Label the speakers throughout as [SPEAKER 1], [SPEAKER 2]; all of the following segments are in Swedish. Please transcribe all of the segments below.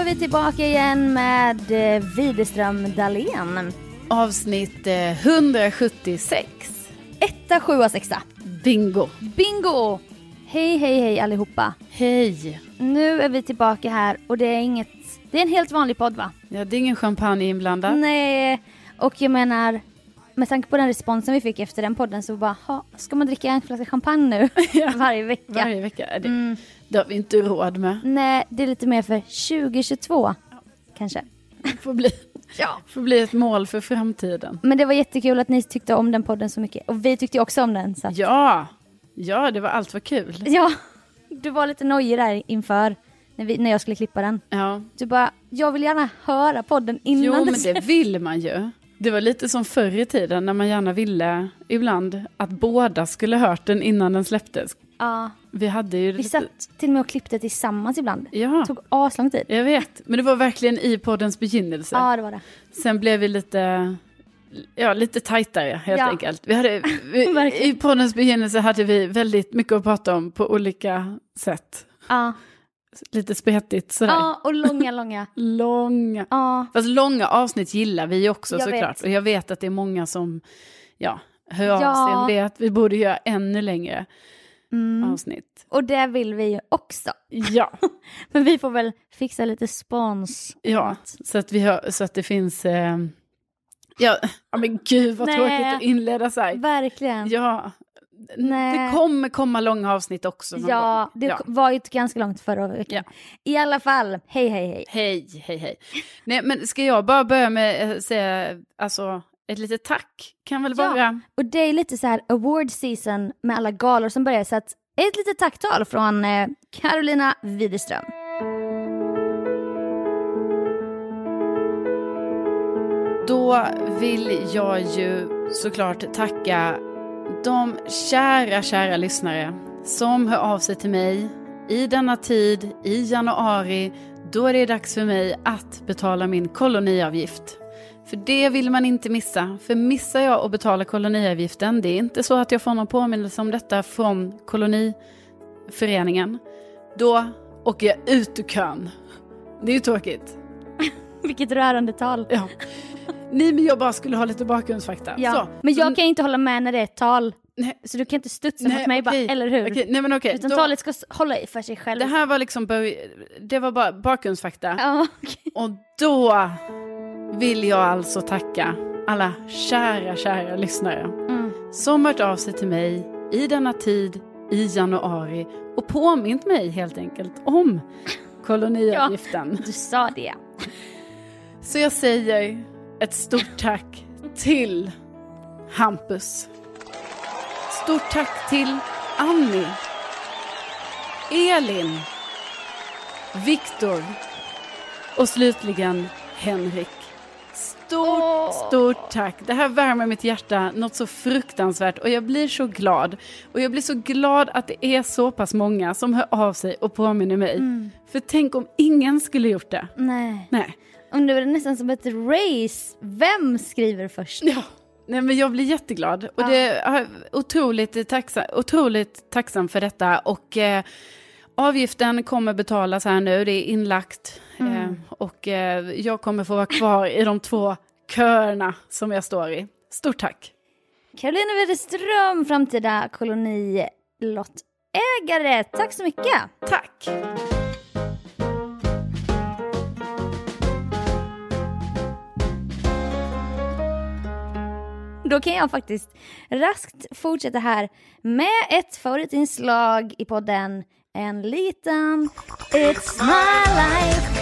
[SPEAKER 1] är vi tillbaka igen med eh, Widerström Dahlén.
[SPEAKER 2] Avsnitt eh, 176.
[SPEAKER 1] Etta, sjua, sexa.
[SPEAKER 2] Bingo.
[SPEAKER 1] Bingo! Hej, hej, hej allihopa.
[SPEAKER 2] Hej.
[SPEAKER 1] Nu är vi tillbaka här och det är inget... Det är en helt vanlig podd va?
[SPEAKER 2] Ja, det är ingen champagne inblandad.
[SPEAKER 1] Nej, och jag menar... Med tanke på den responsen vi fick efter den podden så bara, ha, ska man dricka en flaska champagne nu? Varje vecka.
[SPEAKER 2] Varje vecka. Är det, det har vi inte råd med.
[SPEAKER 1] Nej, det är lite mer för 2022. Kanske.
[SPEAKER 2] Det får bli,
[SPEAKER 1] Ja.
[SPEAKER 2] får bli ett mål för framtiden.
[SPEAKER 1] Men det var jättekul att ni tyckte om den podden så mycket. Och vi tyckte ju också om den. Så att,
[SPEAKER 2] Ja. Ja, det var allt vad kul.
[SPEAKER 1] ja, du var lite nojig där inför när, vi, när jag skulle klippa den.
[SPEAKER 2] Ja.
[SPEAKER 1] Du bara, jag vill gärna höra podden innan
[SPEAKER 2] Jo, men
[SPEAKER 1] släpps."
[SPEAKER 2] det vill man ju. Det var lite som förr i tiden när man gärna ville ibland att båda skulle hört den innan den släpptes.
[SPEAKER 1] Ja,
[SPEAKER 2] Vi hade ju...
[SPEAKER 1] vi satt till och med och klippte tillsammans ibland.
[SPEAKER 2] Ja,
[SPEAKER 1] Det tog aslång tid.
[SPEAKER 2] jag vet. Men det var verkligen i poddens begynnelse.
[SPEAKER 1] Ja, det var det.
[SPEAKER 2] Sen blev vi lite, ja, lite tajtare helt
[SPEAKER 1] Ja.
[SPEAKER 2] enkelt. Vi hade, vi, I
[SPEAKER 1] Verkligen.
[SPEAKER 2] poddens begynnelse hade vi väldigt mycket att prata om på olika sätt.
[SPEAKER 1] Ja,
[SPEAKER 2] Lite spretigt sådär.
[SPEAKER 1] ja och långa, långa.
[SPEAKER 2] Långa.
[SPEAKER 1] Ja,
[SPEAKER 2] Fast långa avsnitt gillar vi ju också
[SPEAKER 1] Jag
[SPEAKER 2] såklart.
[SPEAKER 1] vet.
[SPEAKER 2] Och jag vet att det är många som ja, hör av sig
[SPEAKER 1] Ja.
[SPEAKER 2] om det. Att vi borde göra ännu längre avsnitt.
[SPEAKER 1] mm. och det vill vi ju också.
[SPEAKER 2] Ja,
[SPEAKER 1] Men vi får väl fixa lite spons.
[SPEAKER 2] ja. Så, att vi hör, så att det finns... Eh, ja, ja, men gud vad
[SPEAKER 1] Nej.
[SPEAKER 2] tråkigt att inleda så här.
[SPEAKER 1] Verkligen.
[SPEAKER 2] Ja.
[SPEAKER 1] Nej.
[SPEAKER 2] Det kommer komma långa avsnitt också. någon
[SPEAKER 1] Eh. Ja,
[SPEAKER 2] gång.
[SPEAKER 1] det
[SPEAKER 2] ja.
[SPEAKER 1] var ju ett ganska långt förra veckan. I alla fall, hej hej hej.
[SPEAKER 2] Hej, hej, hej. Nej, men ska jag bara börja med att säga alltså, ett litet tack? Kan väl
[SPEAKER 1] Ja.
[SPEAKER 2] vara...
[SPEAKER 1] Och det är lite så här award season med alla galor som börjar så att ett litet tacktal från eh, Carolina Widerström.
[SPEAKER 2] Då vill jag ju såklart tacka de kära, kära lyssnare som hör av sig till mig i denna tid, i januari, då är det dags för mig att betala min koloniavgift. För det vill man inte missa, för missar jag att betala koloniavgiften, det är inte så att jag får någon påminnelse om detta från koloniföreningen, då åker jag ut ur kön. Det är ju tråkigt.
[SPEAKER 1] Vilket rörande tal.
[SPEAKER 2] Ja. Nej men jag bara skulle ha lite bakgrundsfakta.
[SPEAKER 1] Ja.
[SPEAKER 2] Så.
[SPEAKER 1] Men jag kan inte hålla med när det är ett tal.
[SPEAKER 2] Nej.
[SPEAKER 1] Så du kan inte studsa mot mig
[SPEAKER 2] okej.
[SPEAKER 1] bara, eller hur?
[SPEAKER 2] Okej, nej men okej.
[SPEAKER 1] Utan
[SPEAKER 2] Då-
[SPEAKER 1] talet ska s- hålla i för sig själv.
[SPEAKER 2] Det här var liksom, bör- det var bara bakgrundsfakta.
[SPEAKER 1] Ja, okej.
[SPEAKER 2] Och då vill jag alltså tacka alla kära, kära lyssnare
[SPEAKER 1] Mm.
[SPEAKER 2] som hört av sig till mig i denna tid i januari och påmint mig helt enkelt om koloniavgiften.
[SPEAKER 1] Du sa det.
[SPEAKER 2] Så jag säger ett stort tack till Hampus. Stort tack till Annie, Elin, Viktor och slutligen Henrik. Stort,
[SPEAKER 1] Åh.
[SPEAKER 2] stort tack. Det här värmer mitt hjärta något så fruktansvärt och jag blir så glad. Och jag blir så glad att det är så pass många som hör av sig och påminner mig. För tänk om ingen skulle gjort det.
[SPEAKER 1] Nej.
[SPEAKER 2] Nej.
[SPEAKER 1] Och nu är det nästan som ett race. Vem skriver först?
[SPEAKER 2] Ja. Nej, men jag blir jätteglad och
[SPEAKER 1] Ja.
[SPEAKER 2] det är otroligt tacksam, otroligt tacksam för detta. Och eh, avgiften kommer betalas här nu, det är inlagt. Eh, och eh, jag kommer få vara kvar i de två köerna som jag står i. Stort tack!
[SPEAKER 1] Carolina Widerström, framtida kolonilottägare. Tack så mycket.
[SPEAKER 2] Tack!
[SPEAKER 1] Då kan jag faktiskt raskt fortsätta här med ett favoritinslag i podden. En liten It's my life.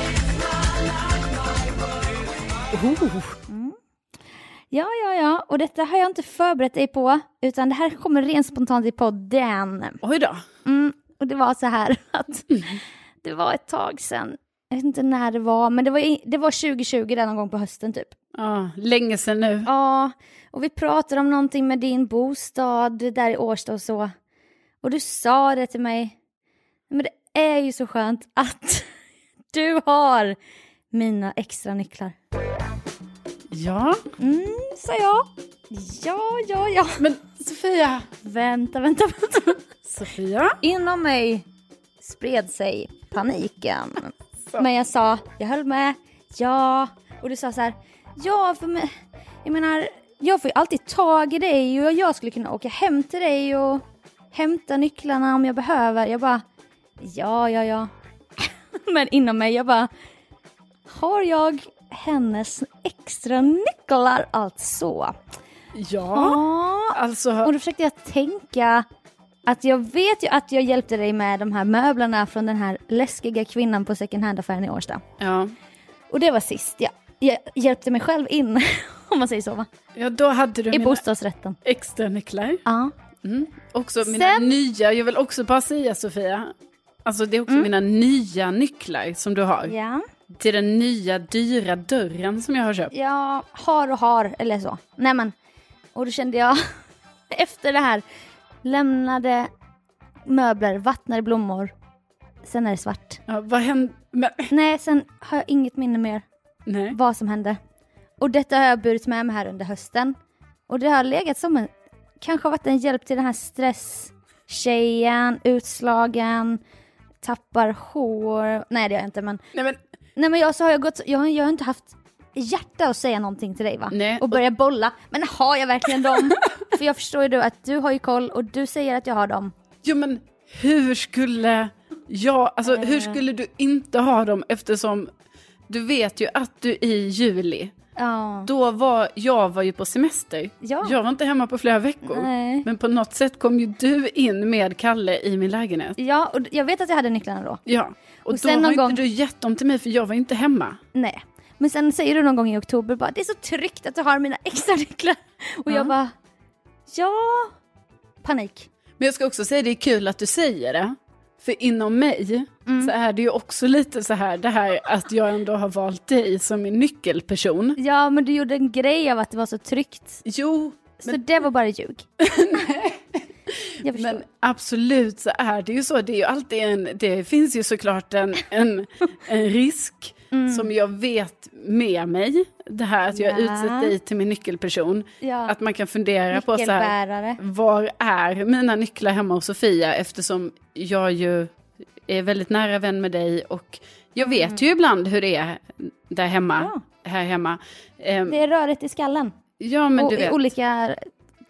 [SPEAKER 2] Oh.
[SPEAKER 1] Ja, ja, ja. Och detta har jag inte förberett dig på, utan det här kommer rent spontant i podden.
[SPEAKER 2] Oj då!
[SPEAKER 1] Mm, och det var så här att det var ett tag sedan, jag vet inte när det var, men det var, i- det var 2020 där någon gång på hösten typ.
[SPEAKER 2] Ja, länge sedan nu.
[SPEAKER 1] Ja, och vi pratade om någonting med din bostad där i Årsta och så. Och du sa det till mig. Men det är ju så skönt att du har mina extra nycklar.
[SPEAKER 2] Ja,
[SPEAKER 1] Mm, sa jag. Ja, ja, ja.
[SPEAKER 2] men Sofia!
[SPEAKER 1] Vänta, vänta, vänta.
[SPEAKER 2] Sofia?
[SPEAKER 1] Inom mig spred sig paniken. Men jag sa, jag höll med, ja. Och du sa så här, ja för mig, jag menar, jag får ju alltid tag i dig och jag skulle kunna åka hem till dig och hämta nycklarna om jag behöver. Jag bara, ja, ja, ja. Men inom mig, jag bara, har jag hennes extra nycklar alltså?
[SPEAKER 2] Ja,
[SPEAKER 1] Ja.
[SPEAKER 2] alltså.
[SPEAKER 1] Och då försökte jag tänka att jag vet ju att jag hjälpte dig med de här möblerna från den här läskiga kvinnan på second hand-affären i Årsta.
[SPEAKER 2] Ja.
[SPEAKER 1] Och det var sist, jag, jag hjälpte mig själv in, om man säger så va?
[SPEAKER 2] ja, då hade du
[SPEAKER 1] I
[SPEAKER 2] mina
[SPEAKER 1] bostadsrätten.
[SPEAKER 2] extra nycklar.
[SPEAKER 1] Ja.
[SPEAKER 2] Mm. Också mina
[SPEAKER 1] Sen-
[SPEAKER 2] nya, jag vill också bara säga Sofia. Alltså det är också mina nya nycklar som du har.
[SPEAKER 1] Mm. ja.
[SPEAKER 2] Till den nya dyra dörren som jag har köpt.
[SPEAKER 1] Jag har och har, eller så. Nej men. Och då kände jag, efter det här, lämnade möbler, vattnade blommor. Sen är det svart.
[SPEAKER 2] Ja, vad hände? Men,
[SPEAKER 1] Nej, sen har jag inget minne mer.
[SPEAKER 2] nej.
[SPEAKER 1] vad som hände. Och detta har jag burit med mig här under hösten. Och det har legat som en, kanske har varit en hjälp till den här stresstjejen, utslagen, tappar hår. Nej det har jag inte men.
[SPEAKER 2] Nej, men
[SPEAKER 1] Nej men jag, så har jag, gått, jag, har- jag har inte haft hjärta att säga någonting till dig va?
[SPEAKER 2] Nej.
[SPEAKER 1] Och börja bolla. Men har jag verkligen dem? För jag förstår ju du att du har ju koll och du säger att jag har dem.
[SPEAKER 2] Jo men hur skulle jag, alltså hur
[SPEAKER 1] Eh.
[SPEAKER 2] skulle du inte ha dem eftersom du vet ju att du i juli,
[SPEAKER 1] Ja.
[SPEAKER 2] då var, jag var ju på semester.
[SPEAKER 1] Ja.
[SPEAKER 2] Jag var inte hemma på flera veckor.
[SPEAKER 1] Nej.
[SPEAKER 2] Men på något sätt kom ju du in med Kalle i min lägenhet.
[SPEAKER 1] Ja, och jag vet att jag hade nycklarna då.
[SPEAKER 2] Ja. Och,
[SPEAKER 1] Och
[SPEAKER 2] då
[SPEAKER 1] sen någon
[SPEAKER 2] har inte
[SPEAKER 1] gång-
[SPEAKER 2] du gett dem till mig för jag var ju inte hemma.
[SPEAKER 1] Nej. Men sen säger du någon gång i oktober bara det är så tryggt att du har mina extra nycklar. Och jag bara ja. Panik.
[SPEAKER 2] Men jag ska också säga det är kul att du säger det. För inom mig så är det ju också lite så här det här att jag ändå har valt dig som min nyckelperson.
[SPEAKER 1] Ja men du gjorde en grej av att det var så tryggt.
[SPEAKER 2] Jo,
[SPEAKER 1] Så det var bara ljug. jag förstår.
[SPEAKER 2] Men absolut så är det ju så. Det, är ju alltid en, det finns ju såklart en, en, en risk som jag vet med mig. Det här att jag
[SPEAKER 1] Ja.
[SPEAKER 2] utsett dig till min nyckelperson.
[SPEAKER 1] Ja.
[SPEAKER 2] Att man kan fundera på så här,
[SPEAKER 1] Nyckelbärare.
[SPEAKER 2] var är mina nycklar hemma hos Sofia? Eftersom jag ju är väldigt nära vän med dig och jag vet
[SPEAKER 1] Mm.
[SPEAKER 2] ju ibland hur det är där hemma. Här hemma. Ehm,
[SPEAKER 1] Det är rörigt i skallen.
[SPEAKER 2] ja, men
[SPEAKER 1] och
[SPEAKER 2] du
[SPEAKER 1] i
[SPEAKER 2] vet.
[SPEAKER 1] olika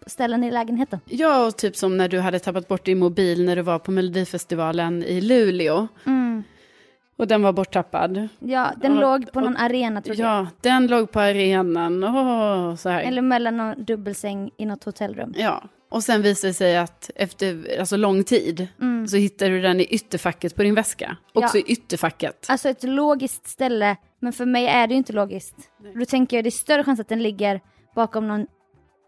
[SPEAKER 1] ställen i lägenheten.
[SPEAKER 2] Ja, och typ som när du hade tappat bort din mobil när du var på Melodifestivalen i Luleå.
[SPEAKER 1] Mm.
[SPEAKER 2] Och den var borttappad.
[SPEAKER 1] Ja, den
[SPEAKER 2] Ja,
[SPEAKER 1] låg på någon arena tror jag.
[SPEAKER 2] Ja, den låg på arenan. Åh, så här.
[SPEAKER 1] Eller mellan någon dubbelsäng i något hotellrum.
[SPEAKER 2] Ja. Och sen visade det sig att efter alltså, lång tid så hittade du den i ytterfacket på din väska. Också
[SPEAKER 1] Mm. Ja.
[SPEAKER 2] i ytterfacket.
[SPEAKER 1] Alltså ett logiskt ställe, men för mig är det ju inte logiskt. Då tänker jag det är större chans att den ligger bakom någon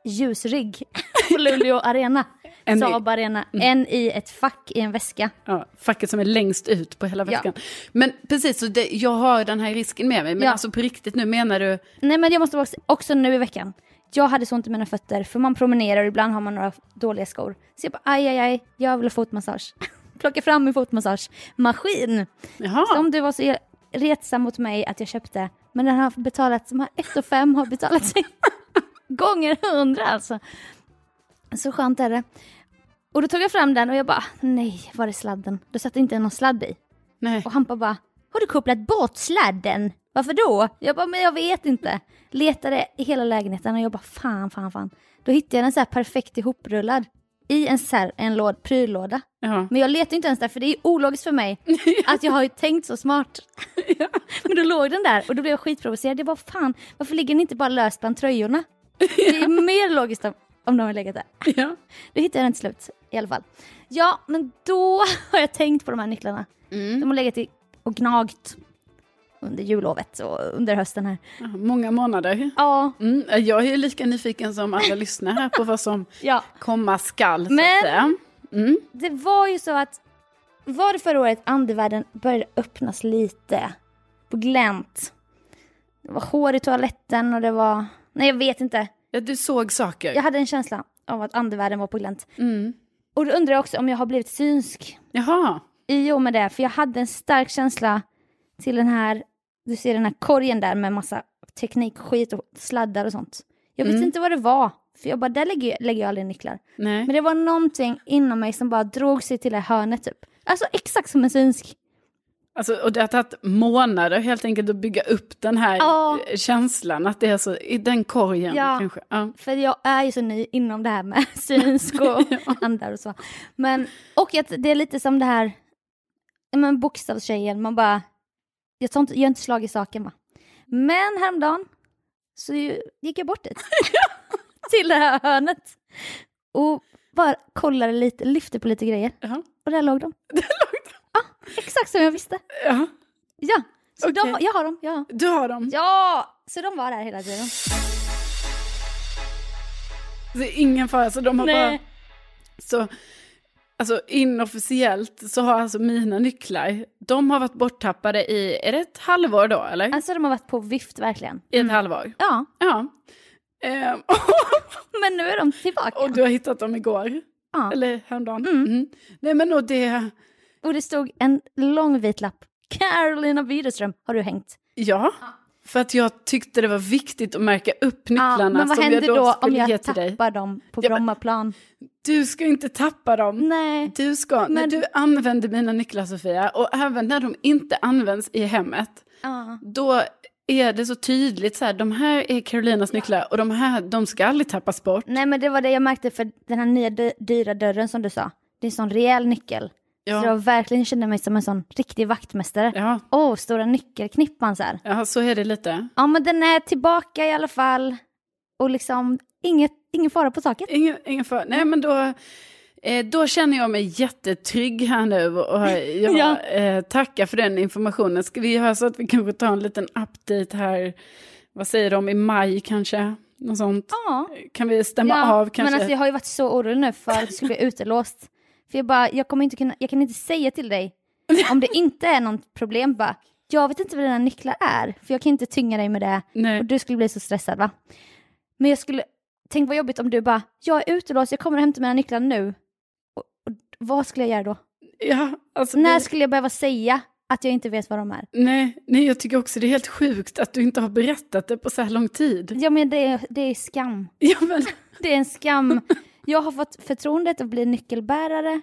[SPEAKER 1] ljusrigg på Luleå arena,
[SPEAKER 2] Än i-
[SPEAKER 1] Saab arena, än i ett fack i en väska.
[SPEAKER 2] Ja, facket som är längst ut på hela
[SPEAKER 1] Ja.
[SPEAKER 2] väskan. Men precis, så det, jag har den här risken med mig. Men
[SPEAKER 1] Ja.
[SPEAKER 2] alltså på riktigt nu menar du...
[SPEAKER 1] Nej men jag måste också, också nu i veckan, jag hade så ont i mina fötter för man promenerar och ibland har man några dåliga skor. Så jag bara aj aj aj, jag vill ha fotmassage. Plocka fram min fotmassagemaskin.
[SPEAKER 2] Jaha.
[SPEAKER 1] Som du var så retsam mot mig att jag köpte. Men den har betalat, de här 1 fem har betalat sig gånger hundra alltså. Så skönt är det. Och då tog jag fram den och jag bara, nej, var är sladden? Då satt inte någon sladd i.
[SPEAKER 2] Nej.
[SPEAKER 1] Och Hampa bara, har du kopplat bort sladden? Varför då? Jag bara, men jag vet inte. Letade i hela lägenheten och jag bara, fan, fan, fan. Då hittade jag den så här perfekt ihoprullad. I en, så här, en låd, pryllåda.
[SPEAKER 2] Ja.
[SPEAKER 1] Men jag letar inte ens där för det är ologiskt för mig att jag har ju tänkt så smart. Men då låg den där och då blev jag skitprovocerad. Jag bara fan, varför ligger den inte bara löst bland tröjorna? Det är mer logiskt om, om de har legat där.
[SPEAKER 2] ja.
[SPEAKER 1] Då hittade jag den till slut i alla fall. Ja, men då har jag tänkt på de här nycklarna. De har legat i och gnagt under jullovet och under hösten här.
[SPEAKER 2] Ja, Många månader.
[SPEAKER 1] Ja,
[SPEAKER 2] Mm, jag är ju lika nyfiken som alla lyssnare här på vad som
[SPEAKER 1] ja.
[SPEAKER 2] komma skall. Så
[SPEAKER 1] Men-
[SPEAKER 2] att säga. Mm.
[SPEAKER 1] det var ju så att var det förra året andevärlden började öppnas lite på glänt. Det var hår i toaletten och det var... Nej, jag vet inte.
[SPEAKER 2] Ja, du såg saker.
[SPEAKER 1] Jag hade en känsla av att andevärlden var på glänt.
[SPEAKER 2] Mm.
[SPEAKER 1] Och då undrar jag också om jag har blivit synsk
[SPEAKER 2] Jaha.
[SPEAKER 1] i och med det, för jag hade en stark känsla till den här... Du ser den här korgen där med massa teknikskit och sladdar och sånt. Jag visste inte vad det var, för jag bara, där lägger jag, lägger jag aldrig nycklar.
[SPEAKER 2] Nej.
[SPEAKER 1] Men det var någonting inom mig som bara drog sig till det hörnet typ. Alltså exakt som en synsk.
[SPEAKER 2] Alltså, och det har tagit månader helt enkelt att bygga upp den här
[SPEAKER 1] Ja.
[SPEAKER 2] eh, känslan, att det är så, i den korgen
[SPEAKER 1] Ja.
[SPEAKER 2] kanske. Ja.
[SPEAKER 1] För jag är ju så ny inom det här med synsk och andar och så. Men, och att det är lite som det här ja, men bokstavstjejen, man bara... Jag, tar inte, jag är inte slag i saken va. Men häromdagen så ju- gick jag bort dit. Till det här hörnet. Och bara kollade lite, lyfte på lite grejer.
[SPEAKER 2] Ja.
[SPEAKER 1] Och där låg de. Exakt som jag visste.
[SPEAKER 2] Ja.
[SPEAKER 1] Ja, så de,
[SPEAKER 2] Okej.
[SPEAKER 1] var- jag har dem. Ja.
[SPEAKER 2] Du har dem.
[SPEAKER 1] ja, så de var där hela tiden.
[SPEAKER 2] Det är ingen fara, så de har bara...
[SPEAKER 1] Nej.
[SPEAKER 2] Så, alltså inofficiellt så har alltså mina nycklar, de har varit borttappade i, är det ett halvår då eller?
[SPEAKER 1] Alltså de har varit på vift verkligen.
[SPEAKER 2] I ett halvår.
[SPEAKER 1] Ja,
[SPEAKER 2] Ja. Ehm,
[SPEAKER 1] men nu är de tillbaka.
[SPEAKER 2] och du har hittat dem igår,
[SPEAKER 1] Ja.
[SPEAKER 2] eller häromdagen. Mm. Nej men och det,
[SPEAKER 1] Och det stod en lång vit lapp. Carolina Widerström har du hängt.
[SPEAKER 2] ja. För att jag tyckte det var viktigt att märka upp nycklarna
[SPEAKER 1] men vad
[SPEAKER 2] som
[SPEAKER 1] händer
[SPEAKER 2] jag
[SPEAKER 1] då,
[SPEAKER 2] då,
[SPEAKER 1] om
[SPEAKER 2] skulle ge
[SPEAKER 1] jag
[SPEAKER 2] till dig.
[SPEAKER 1] tappar dem på
[SPEAKER 2] Ja, men- Mm.
[SPEAKER 1] Brommaplan?
[SPEAKER 2] Du ska inte tappa dem.
[SPEAKER 1] Nej.
[SPEAKER 2] Du ska, när
[SPEAKER 1] Men-
[SPEAKER 2] du använder mina nycklar Sofia, och även när de inte används i hemmet,
[SPEAKER 1] Ja.
[SPEAKER 2] då är det så tydligt så här, de här är Carolinas nycklar och de här, de ska aldrig tappas bort.
[SPEAKER 1] Nej men det var det jag märkte för den här nya dy- dyra dörren som du sa. Det är en sån rejäl nyckel.
[SPEAKER 2] Ja.
[SPEAKER 1] Så jag verkligen kände mig som en sån riktig vaktmästare. Åh,
[SPEAKER 2] Ja,
[SPEAKER 1] stora nyckelknippan så här.
[SPEAKER 2] ja, så är det lite.
[SPEAKER 1] Ja men den är tillbaka i alla fall. Och liksom inget, ingen fara på taket.
[SPEAKER 2] Ingen, ingen fara. Nej, men då, eh, då känner jag mig jättetrygg här nu och jag
[SPEAKER 1] Ja.
[SPEAKER 2] eh, tackar för den informationen. Ska vi göra så att vi kanske tar en liten update här, vad säger de, i maj kanske? Något sånt.
[SPEAKER 1] Ja.
[SPEAKER 2] Kan vi stämma av kanske?
[SPEAKER 1] Men alltså, jag har ju varit så orolig nu för att det skulle bli utelåst. För jag bara, jag kommer inte kunna, jag kan inte säga till dig om det inte är något problem bara, jag vet inte vad dina nycklar är, för jag kan inte tynga dig med det.
[SPEAKER 2] Nej.
[SPEAKER 1] Och du skulle bli så stressad va? Men jag skulle, tänk vad jobbigt om du bara, jag är utelåst, jag kommer och hämtar mina nycklar nu. Och, och vad skulle jag göra då?
[SPEAKER 2] Ja, alltså,
[SPEAKER 1] När
[SPEAKER 2] nej.
[SPEAKER 1] skulle jag behöva säga att jag inte vet vad de är?
[SPEAKER 2] Nej, nej, jag tycker också det är helt sjukt att du inte har berättat det på så här lång tid.
[SPEAKER 1] Ja men det är, det är skam.
[SPEAKER 2] Ja, men,
[SPEAKER 1] Det är en skam. Jag har fått förtroendet att bli nyckelbärare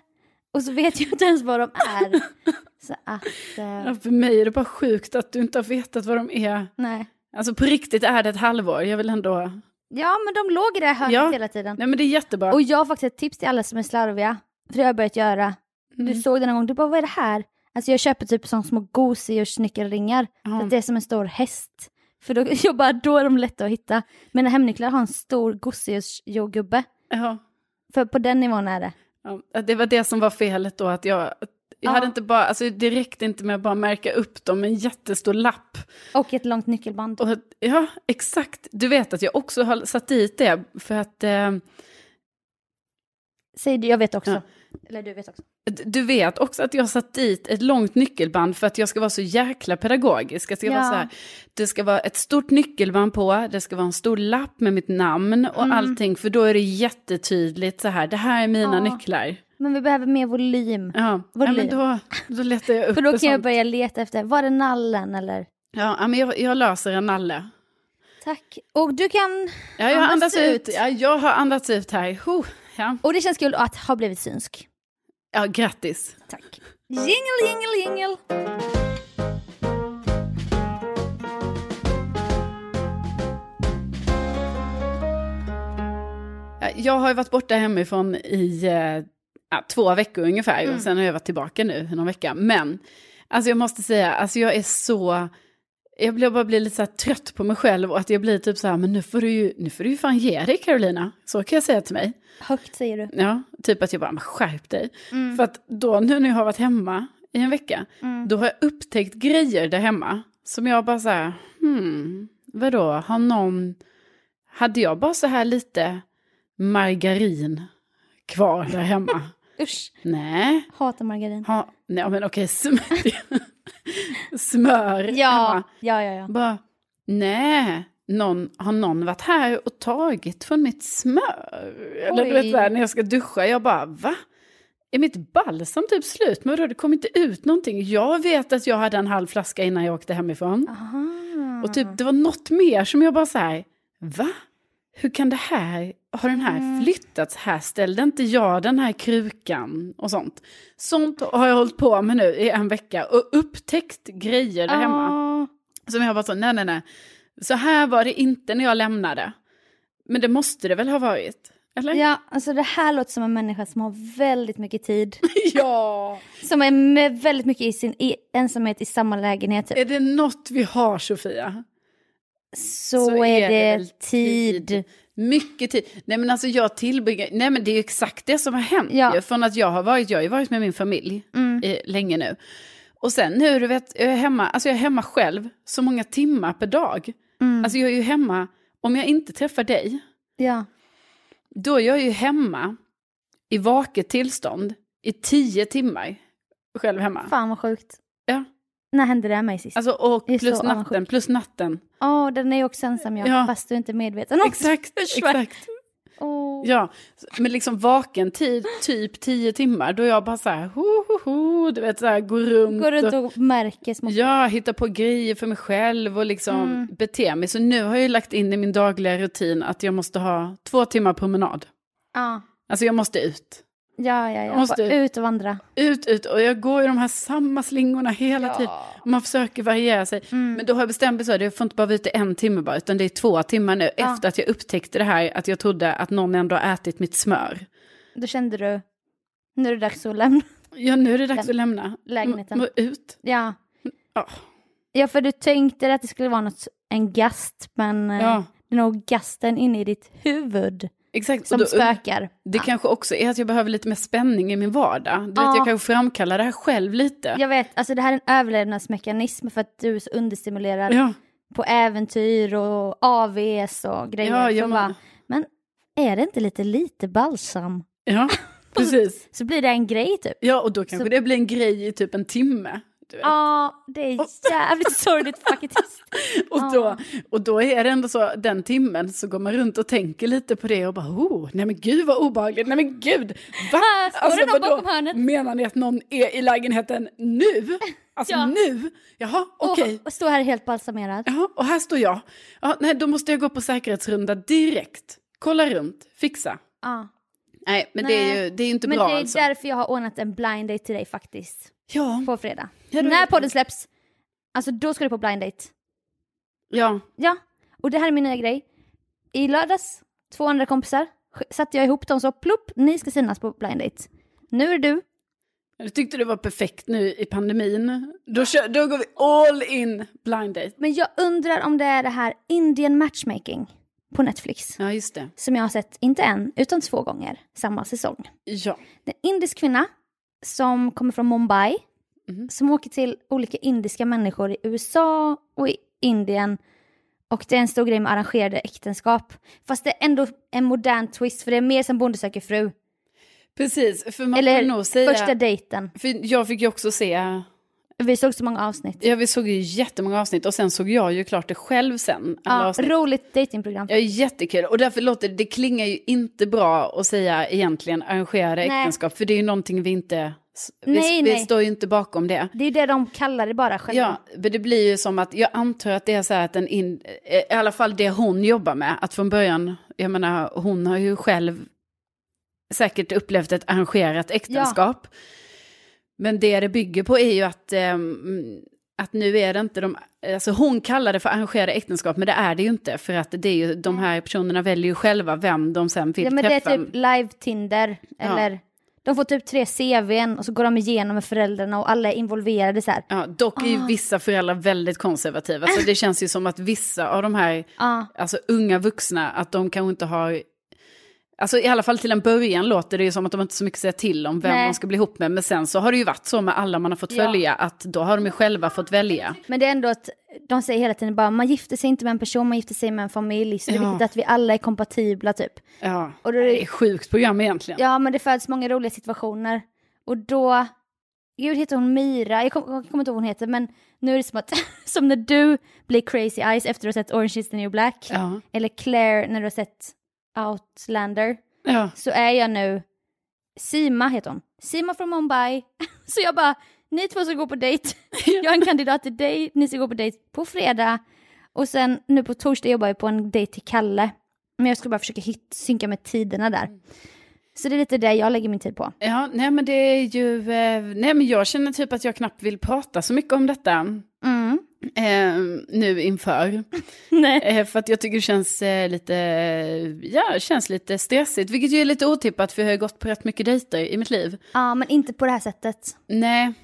[SPEAKER 1] och så vet jag inte ens vad de är. Så att, eh,
[SPEAKER 2] ja, för mig är det bara sjukt att du inte har vetat vad de är.
[SPEAKER 1] nej.
[SPEAKER 2] Alltså på riktigt är det ett halvår, jag vill ändå...
[SPEAKER 1] Ja, men de låg i det här hörnet
[SPEAKER 2] Ja.
[SPEAKER 1] hela tiden.
[SPEAKER 2] Nej men det är jättebra.
[SPEAKER 1] Och jag har faktiskt ett tips till alla som är slarviga, för det har jag börjat göra.
[SPEAKER 2] Mm.
[SPEAKER 1] Du såg det någon gång, du bara vad är det här? Alltså jag köper typ sån små gosedjursnyckelringar,
[SPEAKER 2] Ja.
[SPEAKER 1] så att det är som en stor häst. För då, jag bara, då är de lätta att hitta. Mina hemnycklar har en stor gosedjursgubbe,
[SPEAKER 2] Ja,
[SPEAKER 1] för på den nivån är det.
[SPEAKER 2] ja, det var det som var felet då, att jag... att
[SPEAKER 1] Ja.
[SPEAKER 2] Jag hade inte bara, alltså det räckte inte med att bara märka upp dem med en jättestor lapp.
[SPEAKER 1] Och ett långt nyckelband.
[SPEAKER 2] Och, att- ja, exakt. Du vet att jag också har satt dit det för att eh,
[SPEAKER 1] Säg du, jag vet också.
[SPEAKER 2] Ja.
[SPEAKER 1] Eller du vet också.
[SPEAKER 2] D- Du vet också att jag har satt dit ett långt nyckelband för att jag ska vara så jäkla pedagogisk. Jag ska vara
[SPEAKER 1] Ja.
[SPEAKER 2] så här, det ska vara ett stort nyckelband på, det ska vara en stor lapp med mitt namn och
[SPEAKER 1] Mm.
[SPEAKER 2] allting. För då är det jättetydligt så här, det här är mina
[SPEAKER 1] Ja.
[SPEAKER 2] nycklar.
[SPEAKER 1] Men vi behöver mer volym.
[SPEAKER 2] Ja,
[SPEAKER 1] Vad
[SPEAKER 2] ja men
[SPEAKER 1] liv.
[SPEAKER 2] då, då letar jag upp
[SPEAKER 1] För då
[SPEAKER 2] en
[SPEAKER 1] kan jag
[SPEAKER 2] sån.
[SPEAKER 1] börja leta efter, var är nallen eller?
[SPEAKER 2] Ja, ja, men jag, jag löser en nalle.
[SPEAKER 1] Tack. Och du kan,
[SPEAKER 2] Ja, jag har
[SPEAKER 1] Andas
[SPEAKER 2] andats ut.
[SPEAKER 1] ut.
[SPEAKER 2] Ja, jag har andats ut här. Huh, ja.
[SPEAKER 1] och det känns kul att ha blivit synsk.
[SPEAKER 2] ja, grattis.
[SPEAKER 1] Tack. Jingle, jingle, jingle.
[SPEAKER 2] Ja, Jag har ju varit borta hemifrån i eh, ja, två veckor ungefär och sen har jag varit tillbaka nu i någon vecka. Men alltså jag måste säga, alltså jag är så... Jag blir bara blir lite så här trött på mig själv och att jag blir typ så här, men nu får du ju, nu får du ju fan ge dig Carolina. Så kan jag säga till mig.
[SPEAKER 1] Högt säger du.
[SPEAKER 2] Ja, typ att jag bara, men skärp dig.
[SPEAKER 1] Mm.
[SPEAKER 2] För att då nu när jag har varit hemma i en vecka, då har jag upptäckt grejer där hemma som jag bara så här, hmm, vadå, har någon, hade jag bara så här lite margarin kvar där hemma?
[SPEAKER 1] Usch,
[SPEAKER 2] Nej,
[SPEAKER 1] hatar margarin.
[SPEAKER 2] ha, nej men okej, smör, smör
[SPEAKER 1] Ja,
[SPEAKER 2] hemma.
[SPEAKER 1] ja, ja, ja.
[SPEAKER 2] Bara, nej, någon, har någon varit här och tagit från mitt smör? Eller du vet
[SPEAKER 1] Oj.
[SPEAKER 2] så här, när jag ska duscha, jag bara va? Är mitt balsam typ slut? Men då det kom inte ut någonting. Jag vet att jag hade en halv flaska innan jag åkte hemifrån.
[SPEAKER 1] Aha.
[SPEAKER 2] Och typ det var något mer som jag bara så här, va? hur kan det här, har den här flyttats här, ställde inte jag den här krukan och sånt. Sånt har jag hållit på med nu i en vecka och upptäckt grejer
[SPEAKER 1] Ah.
[SPEAKER 2] där hemma.
[SPEAKER 1] Ja.
[SPEAKER 2] Som jag bara så, nej nej nej, så här var det inte när jag lämnade. Men det måste det väl ha varit? Eller?
[SPEAKER 1] Ja, alltså det här låter som en människa som har väldigt mycket tid.
[SPEAKER 2] ja.
[SPEAKER 1] Som är med väldigt mycket i sin i ensamhet i samma lägenhet. Typ.
[SPEAKER 2] Är det något vi har Sofia?
[SPEAKER 1] Så, är det,
[SPEAKER 2] väl
[SPEAKER 1] tid.
[SPEAKER 2] Mycket tid. Nej men alltså jag tillbringar, nej men det är ju exakt det som har hänt
[SPEAKER 1] Ja.
[SPEAKER 2] ju. Från att jag har varit, jag har ju varit med min familj
[SPEAKER 1] Mm,
[SPEAKER 2] eh, länge nu. Och sen nu, du vet, jag är hemma, alltså jag är hemma själv så många timmar per dag.
[SPEAKER 1] mm.
[SPEAKER 2] Alltså jag är ju hemma, om jag inte träffar dig,
[SPEAKER 1] Ja.
[SPEAKER 2] då är jag ju hemma i vaket tillstånd i tio timmar själv hemma.
[SPEAKER 1] Fan vad sjukt.
[SPEAKER 2] Ja.
[SPEAKER 1] När hände det mig sist? Åh,
[SPEAKER 2] Alltså och
[SPEAKER 1] Det är
[SPEAKER 2] plus
[SPEAKER 1] så
[SPEAKER 2] natten,
[SPEAKER 1] avundsjuk.
[SPEAKER 2] plus natten.
[SPEAKER 1] den är ju också ensam jag,
[SPEAKER 2] Ja.
[SPEAKER 1] fast du är inte medveten om
[SPEAKER 2] Exakt,
[SPEAKER 1] Försvann.
[SPEAKER 2] exakt.
[SPEAKER 1] Åh.
[SPEAKER 2] Ja, men liksom vaken tid, typ tio timmar, då jag bara så här, ho, ho, ho, du vet så här, går runt,
[SPEAKER 1] Går runt och Mm. märker små...
[SPEAKER 2] ja, hittar på grejer för mig själv och liksom beter mig. Så nu har jag ju lagt in i min dagliga rutin att jag måste ha två timmar promenad.
[SPEAKER 1] Ja,
[SPEAKER 2] Alltså jag måste ut.
[SPEAKER 1] ja, ja. ja.
[SPEAKER 2] Måste-
[SPEAKER 1] Bara ut och vandra.
[SPEAKER 2] Ut, ut, och jag går i de här samma slingorna hela tiden. Man försöker variera sig.
[SPEAKER 1] Mm.
[SPEAKER 2] Men då har jag bestämt mig så, här, jag får inte bara vara ute en timme bara, utan det är två timmar nu. Efter att jag upptäckte det här, att jag trodde att någon ändå har ätit mitt smör.
[SPEAKER 1] Då kände du, nu är det dags att lämna.
[SPEAKER 2] Ja, nu är det dags
[SPEAKER 1] Läm-
[SPEAKER 2] att lämna.
[SPEAKER 1] lägenheten.
[SPEAKER 2] Må- Må ut.
[SPEAKER 1] Ja.
[SPEAKER 2] Ja.
[SPEAKER 1] ja, för du tänkte att det skulle vara något, en gast, men eh,
[SPEAKER 2] Ja.
[SPEAKER 1] det är nog gasten inne i ditt huvud
[SPEAKER 2] Exakt.
[SPEAKER 1] som
[SPEAKER 2] och då,
[SPEAKER 1] spökar.
[SPEAKER 2] Det kanske också är att jag behöver lite mer spänning i min vardag. Du
[SPEAKER 1] Ja.
[SPEAKER 2] vet, jag kanske framkallar det här själv lite.
[SPEAKER 1] Jag vet, alltså det här är en överlevnadsmekanism för att du är så understimulerad
[SPEAKER 2] Ja,
[SPEAKER 1] på äventyr och AVs och grejer.
[SPEAKER 2] Ja,
[SPEAKER 1] Så
[SPEAKER 2] jag
[SPEAKER 1] bara,
[SPEAKER 2] men-
[SPEAKER 1] men är det inte lite lite balsam?
[SPEAKER 2] ja precis.
[SPEAKER 1] Så blir det en grej typ.
[SPEAKER 2] Ja, och då kanske det blir en grej i typ en timme. Du vet.
[SPEAKER 1] Ja, det är jävligt sorgligt faktiskt.
[SPEAKER 2] och, då, och då är det ändå så, den timmen så går man runt och tänker lite på det och bara oh, nej men gud vad obehagligt, nej men gud, va? Alltså,
[SPEAKER 1] Här står det någon bakom hörnet.
[SPEAKER 2] Menar ni att någon är i lägenheten nu? Alltså
[SPEAKER 1] Ja.
[SPEAKER 2] nu? Jaha, okej.
[SPEAKER 1] Och, och stå här helt balsamerad.
[SPEAKER 2] Ja, och här står jag. Ja, nej, då måste jag gå på säkerhetsrunda direkt. Kolla runt, fixa.
[SPEAKER 1] Ja.
[SPEAKER 2] Nej, men det
[SPEAKER 1] Nej.
[SPEAKER 2] är ju det är ju inte
[SPEAKER 1] Men
[SPEAKER 2] bra
[SPEAKER 1] det är
[SPEAKER 2] alltså.
[SPEAKER 1] därför jag har ordnat en blind date till dig faktiskt.
[SPEAKER 2] Ja,
[SPEAKER 1] På fredag.
[SPEAKER 2] Ja, då-
[SPEAKER 1] När podden släpps, alltså då ska du på blind date.
[SPEAKER 2] ja,
[SPEAKER 1] Ja, och det här är min nya grej. I lördags, två andra kompisar, sk- satte jag ihop dem så plupp, ni ska synas på blind date. Nu är det du.
[SPEAKER 2] jag tyckte det var perfekt nu i pandemin. Då, kör, då går vi all in blind date.
[SPEAKER 1] Men jag undrar om det är det här Indian matchmaking på Netflix.
[SPEAKER 2] Ja, just det.
[SPEAKER 1] Som jag har sett, inte en, utan två gånger samma säsong.
[SPEAKER 2] Ja,
[SPEAKER 1] Det är en indisk kvinna som kommer från Mumbai.
[SPEAKER 2] Mhm.
[SPEAKER 1] Som åker till olika indiska människor i USA och i Indien. Och det är en stor grej med arrangerade äktenskap. Fast det är ändå en modern twist för det är mer som Bonde söker fru.
[SPEAKER 2] precis. För man får
[SPEAKER 1] Eller
[SPEAKER 2] nog säga...
[SPEAKER 1] första dejten.
[SPEAKER 2] För jag fick ju också se...
[SPEAKER 1] Vi såg så många avsnitt.
[SPEAKER 2] Ja, vi såg ju jättemånga avsnitt och sen såg jag ju klart det själv sen. Alla
[SPEAKER 1] Ja,
[SPEAKER 2] avsnitt.
[SPEAKER 1] roligt dejtingprogram.
[SPEAKER 2] Ja, jättekul. Och därför låter det, det klingar ju inte bra att säga egentligen arrangerade
[SPEAKER 1] Nej.
[SPEAKER 2] äktenskap, för det är ju någonting vi inte, vi,
[SPEAKER 1] Nej,
[SPEAKER 2] vi
[SPEAKER 1] nej.
[SPEAKER 2] står ju inte bakom det.
[SPEAKER 1] Det är ju det de kallar det bara själva.
[SPEAKER 2] Ja, men det blir ju som att, jag antar att det är så här att en, in, eh, i alla fall det hon jobbar med, att från början, jag menar hon har ju själv säkert upplevt ett arrangerat äktenskap. Men det det bygger på är ju att, ehm, att nu är det inte de, alltså hon kallar det för arrangerade äktenskap, men det är det ju inte, för att det är ju, de här personerna väljer ju själva vem de sen vill
[SPEAKER 1] Mm. ja men det är
[SPEAKER 2] träffa.
[SPEAKER 1] typ live-Tinder. Eller de får typ tre CVn och så går de igenom med föräldrarna och alla är involverade så här.
[SPEAKER 2] Ja, dock är
[SPEAKER 1] Ah.
[SPEAKER 2] ju vissa föräldrar väldigt konservativa, så det känns ju som att vissa av de här
[SPEAKER 1] Ja,
[SPEAKER 2] alltså unga vuxna, att de kanske inte har... Alltså i alla fall till en början låter det ju som att de inte har så mycket att säga till om vem
[SPEAKER 1] Nej.
[SPEAKER 2] man ska bli ihop med. Men sen så har det ju varit så med alla man har fått
[SPEAKER 1] Ja.
[SPEAKER 2] följa, att då har de ju själva fått välja.
[SPEAKER 1] men det är ändå att de säger hela tiden bara man gifter sig inte med en person, man gifter sig med en familj. Så det är
[SPEAKER 2] Ja.
[SPEAKER 1] viktigt att vi alla är kompatibla typ.
[SPEAKER 2] Ja,
[SPEAKER 1] Och då är det-
[SPEAKER 2] det är ett sjukt program egentligen.
[SPEAKER 1] Ja, men det föds många roliga situationer. Och då, gud heter hon Mira, jag kom- jag kommer inte ihåg vad hon heter, men nu är det som att, som när du blir crazy eyes efter att ha sett Orange is the new black,
[SPEAKER 2] Ja.
[SPEAKER 1] eller Claire när du har sett Outlander,
[SPEAKER 2] Ja.
[SPEAKER 1] så är jag nu Sima heter hon, Sima från Mumbai. Så jag bara, ni två ska gå på dejt, jag är en kandidat till dig, ni ska gå på dejt på fredag. Och sen nu på torsdag jobbar jag på en dejt till Kalle Men jag skulle bara försöka hit, synka med tiderna där.
[SPEAKER 2] Mm.
[SPEAKER 1] Så det är lite det jag lägger min tid på.
[SPEAKER 2] Ja, nej men det är ju, eh, nej men jag känner typ att jag knappt vill prata så mycket om detta
[SPEAKER 1] Mm.
[SPEAKER 2] eh, nu inför.
[SPEAKER 1] Nej.
[SPEAKER 2] Eh, för att jag tycker det känns eh, lite, ja, det känns lite stressigt, vilket ju är lite otippat för jag har gått på rätt mycket dejter i mitt liv.
[SPEAKER 1] Ja, men inte på det här sättet.
[SPEAKER 2] Nej, nej,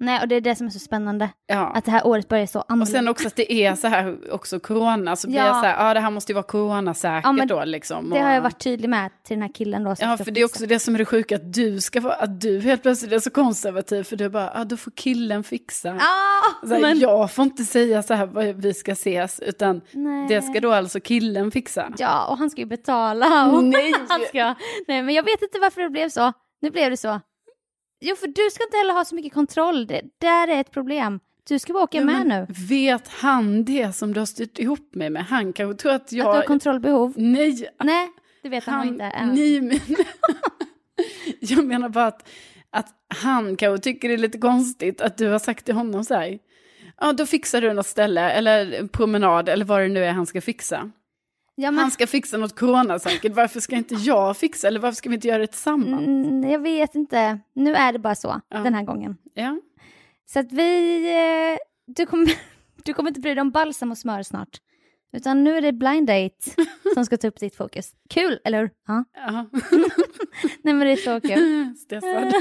[SPEAKER 1] Nej, och det är det som är så spännande.
[SPEAKER 2] ja.
[SPEAKER 1] Att det här året börjar så
[SPEAKER 2] Och
[SPEAKER 1] annorlunda.
[SPEAKER 2] sen också att det är så här också corona, så blir
[SPEAKER 1] Ja.
[SPEAKER 2] jag så här, ja ah, det här måste ju vara coronasäkert
[SPEAKER 1] Ja, men
[SPEAKER 2] då liksom.
[SPEAKER 1] Det har jag
[SPEAKER 2] Och-
[SPEAKER 1] varit tydlig med till den här killen då. som
[SPEAKER 2] Ja,
[SPEAKER 1] ska
[SPEAKER 2] för det är
[SPEAKER 1] fixa.
[SPEAKER 2] också det som är det sjuka, att du ska vara, att du helt plötsligt är så konservativ, för du bara, ja ah, då får killen fixa.
[SPEAKER 1] Ja,
[SPEAKER 2] Så här,
[SPEAKER 1] Ah! men...
[SPEAKER 2] Jag får inte säga så här, vad vi ska ses, utan
[SPEAKER 1] Nej.
[SPEAKER 2] det ska då alltså killen fixa.
[SPEAKER 1] Ja, och han ska ju betala. Och
[SPEAKER 2] Nej.
[SPEAKER 1] Han ska... Nej, men jag vet inte varför det blev så. Nu blev det så. Jo, för du ska inte heller ha så mycket kontroll. Det där är ett problem. Du ska bara åka med
[SPEAKER 2] Men
[SPEAKER 1] nu.
[SPEAKER 2] Vet han det som du har styrt ihop mig med? Han kanske tror att
[SPEAKER 1] Att du
[SPEAKER 2] jag...
[SPEAKER 1] har kontrollbehov.
[SPEAKER 2] Nej,
[SPEAKER 1] Nej, det vet han, nog inte än.
[SPEAKER 2] nej, men... jag menar bara att, att han kanske tycker det är lite konstigt att du har sagt till honom så här. Ja, då fixar du något ställe, eller en promenad, eller vad det nu är han ska fixa.
[SPEAKER 1] Ja, men...
[SPEAKER 2] Han ska fixa något coronasäkert, varför ska inte jag fixa, eller varför ska vi inte göra det tillsammans?
[SPEAKER 1] Mm, jag vet inte. Nu är det bara så,
[SPEAKER 2] Ja.
[SPEAKER 1] den här gången.
[SPEAKER 2] Ja.
[SPEAKER 1] Så att vi... Eh, du, kommer, du kommer inte bry dig om balsam och smör snart. Utan nu är det blind date som ska ta upp ditt fokus. Kul, eller hur? Ja.
[SPEAKER 2] ja.
[SPEAKER 1] Nej, men det är så kul.
[SPEAKER 2] Stressad.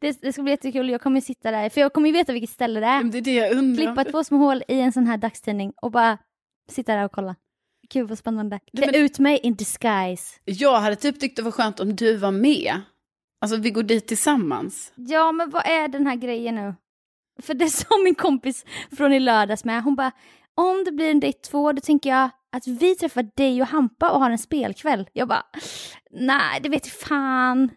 [SPEAKER 1] det, det ska bli jättekul. Jag kommer sitta där, för jag kommer ju veta vilket ställe det är.
[SPEAKER 2] Men Det är det jag undrar.
[SPEAKER 1] Klippa två små hål i en sån här dagstidning och bara sitta där och kolla. Gud vad spännande. Klä
[SPEAKER 2] men-
[SPEAKER 1] ut mig in disguise.
[SPEAKER 2] Jag hade typ tyckt det var skönt om du var med. Alltså vi går dit tillsammans.
[SPEAKER 1] Ja, men vad är den här grejen nu? För det sa min kompis från i lördags med. Hon bara, om det blir en dejt två, då tänker jag att vi träffar dig och Hampa och har en spelkväll. Jag bara, nej, det vet jag fan.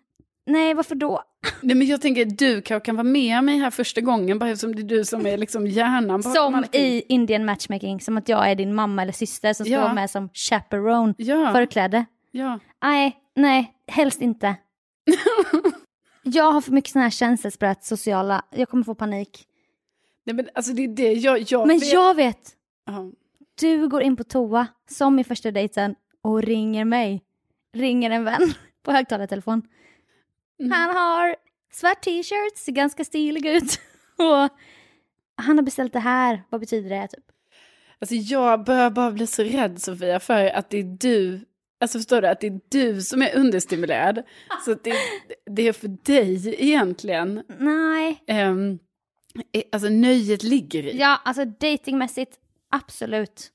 [SPEAKER 1] Nej, varför då?
[SPEAKER 2] Nej men jag tänker du kanske kan vara med mig här första gången bara eftersom det är du som är liksom hjärnan bakom
[SPEAKER 1] Som
[SPEAKER 2] allting.
[SPEAKER 1] i Indian matchmaking, som att jag är din mamma eller syster som ska
[SPEAKER 2] Ja.
[SPEAKER 1] vara med som chaperone.
[SPEAKER 2] Ja,
[SPEAKER 1] Förkläde.
[SPEAKER 2] ja.
[SPEAKER 1] Nej, nej, helst inte. jag har för mycket sådana här känselspröt, sociala. Jag kommer få panik.
[SPEAKER 2] Nej men alltså det är det jag... jag
[SPEAKER 1] Men
[SPEAKER 2] vet-
[SPEAKER 1] jag vet,
[SPEAKER 2] Ja.
[SPEAKER 1] du går in på toa, som i första dejten, och ringer mig. Ringer en vän på högtalartelefon.
[SPEAKER 2] Mm.
[SPEAKER 1] Han har svart t-shirt, ser ganska stilig ut. och han har beställt det här, vad betyder det? Typ?
[SPEAKER 2] Alltså jag börjar bara bli så rädd Sofia för att det är du, alltså förstår du, att det är du som är understimulerad. Så att det, det är för dig egentligen,
[SPEAKER 1] Nej.
[SPEAKER 2] ehm, eh, alltså nöjet ligger i.
[SPEAKER 1] Ja, alltså datingmässigt, absolut.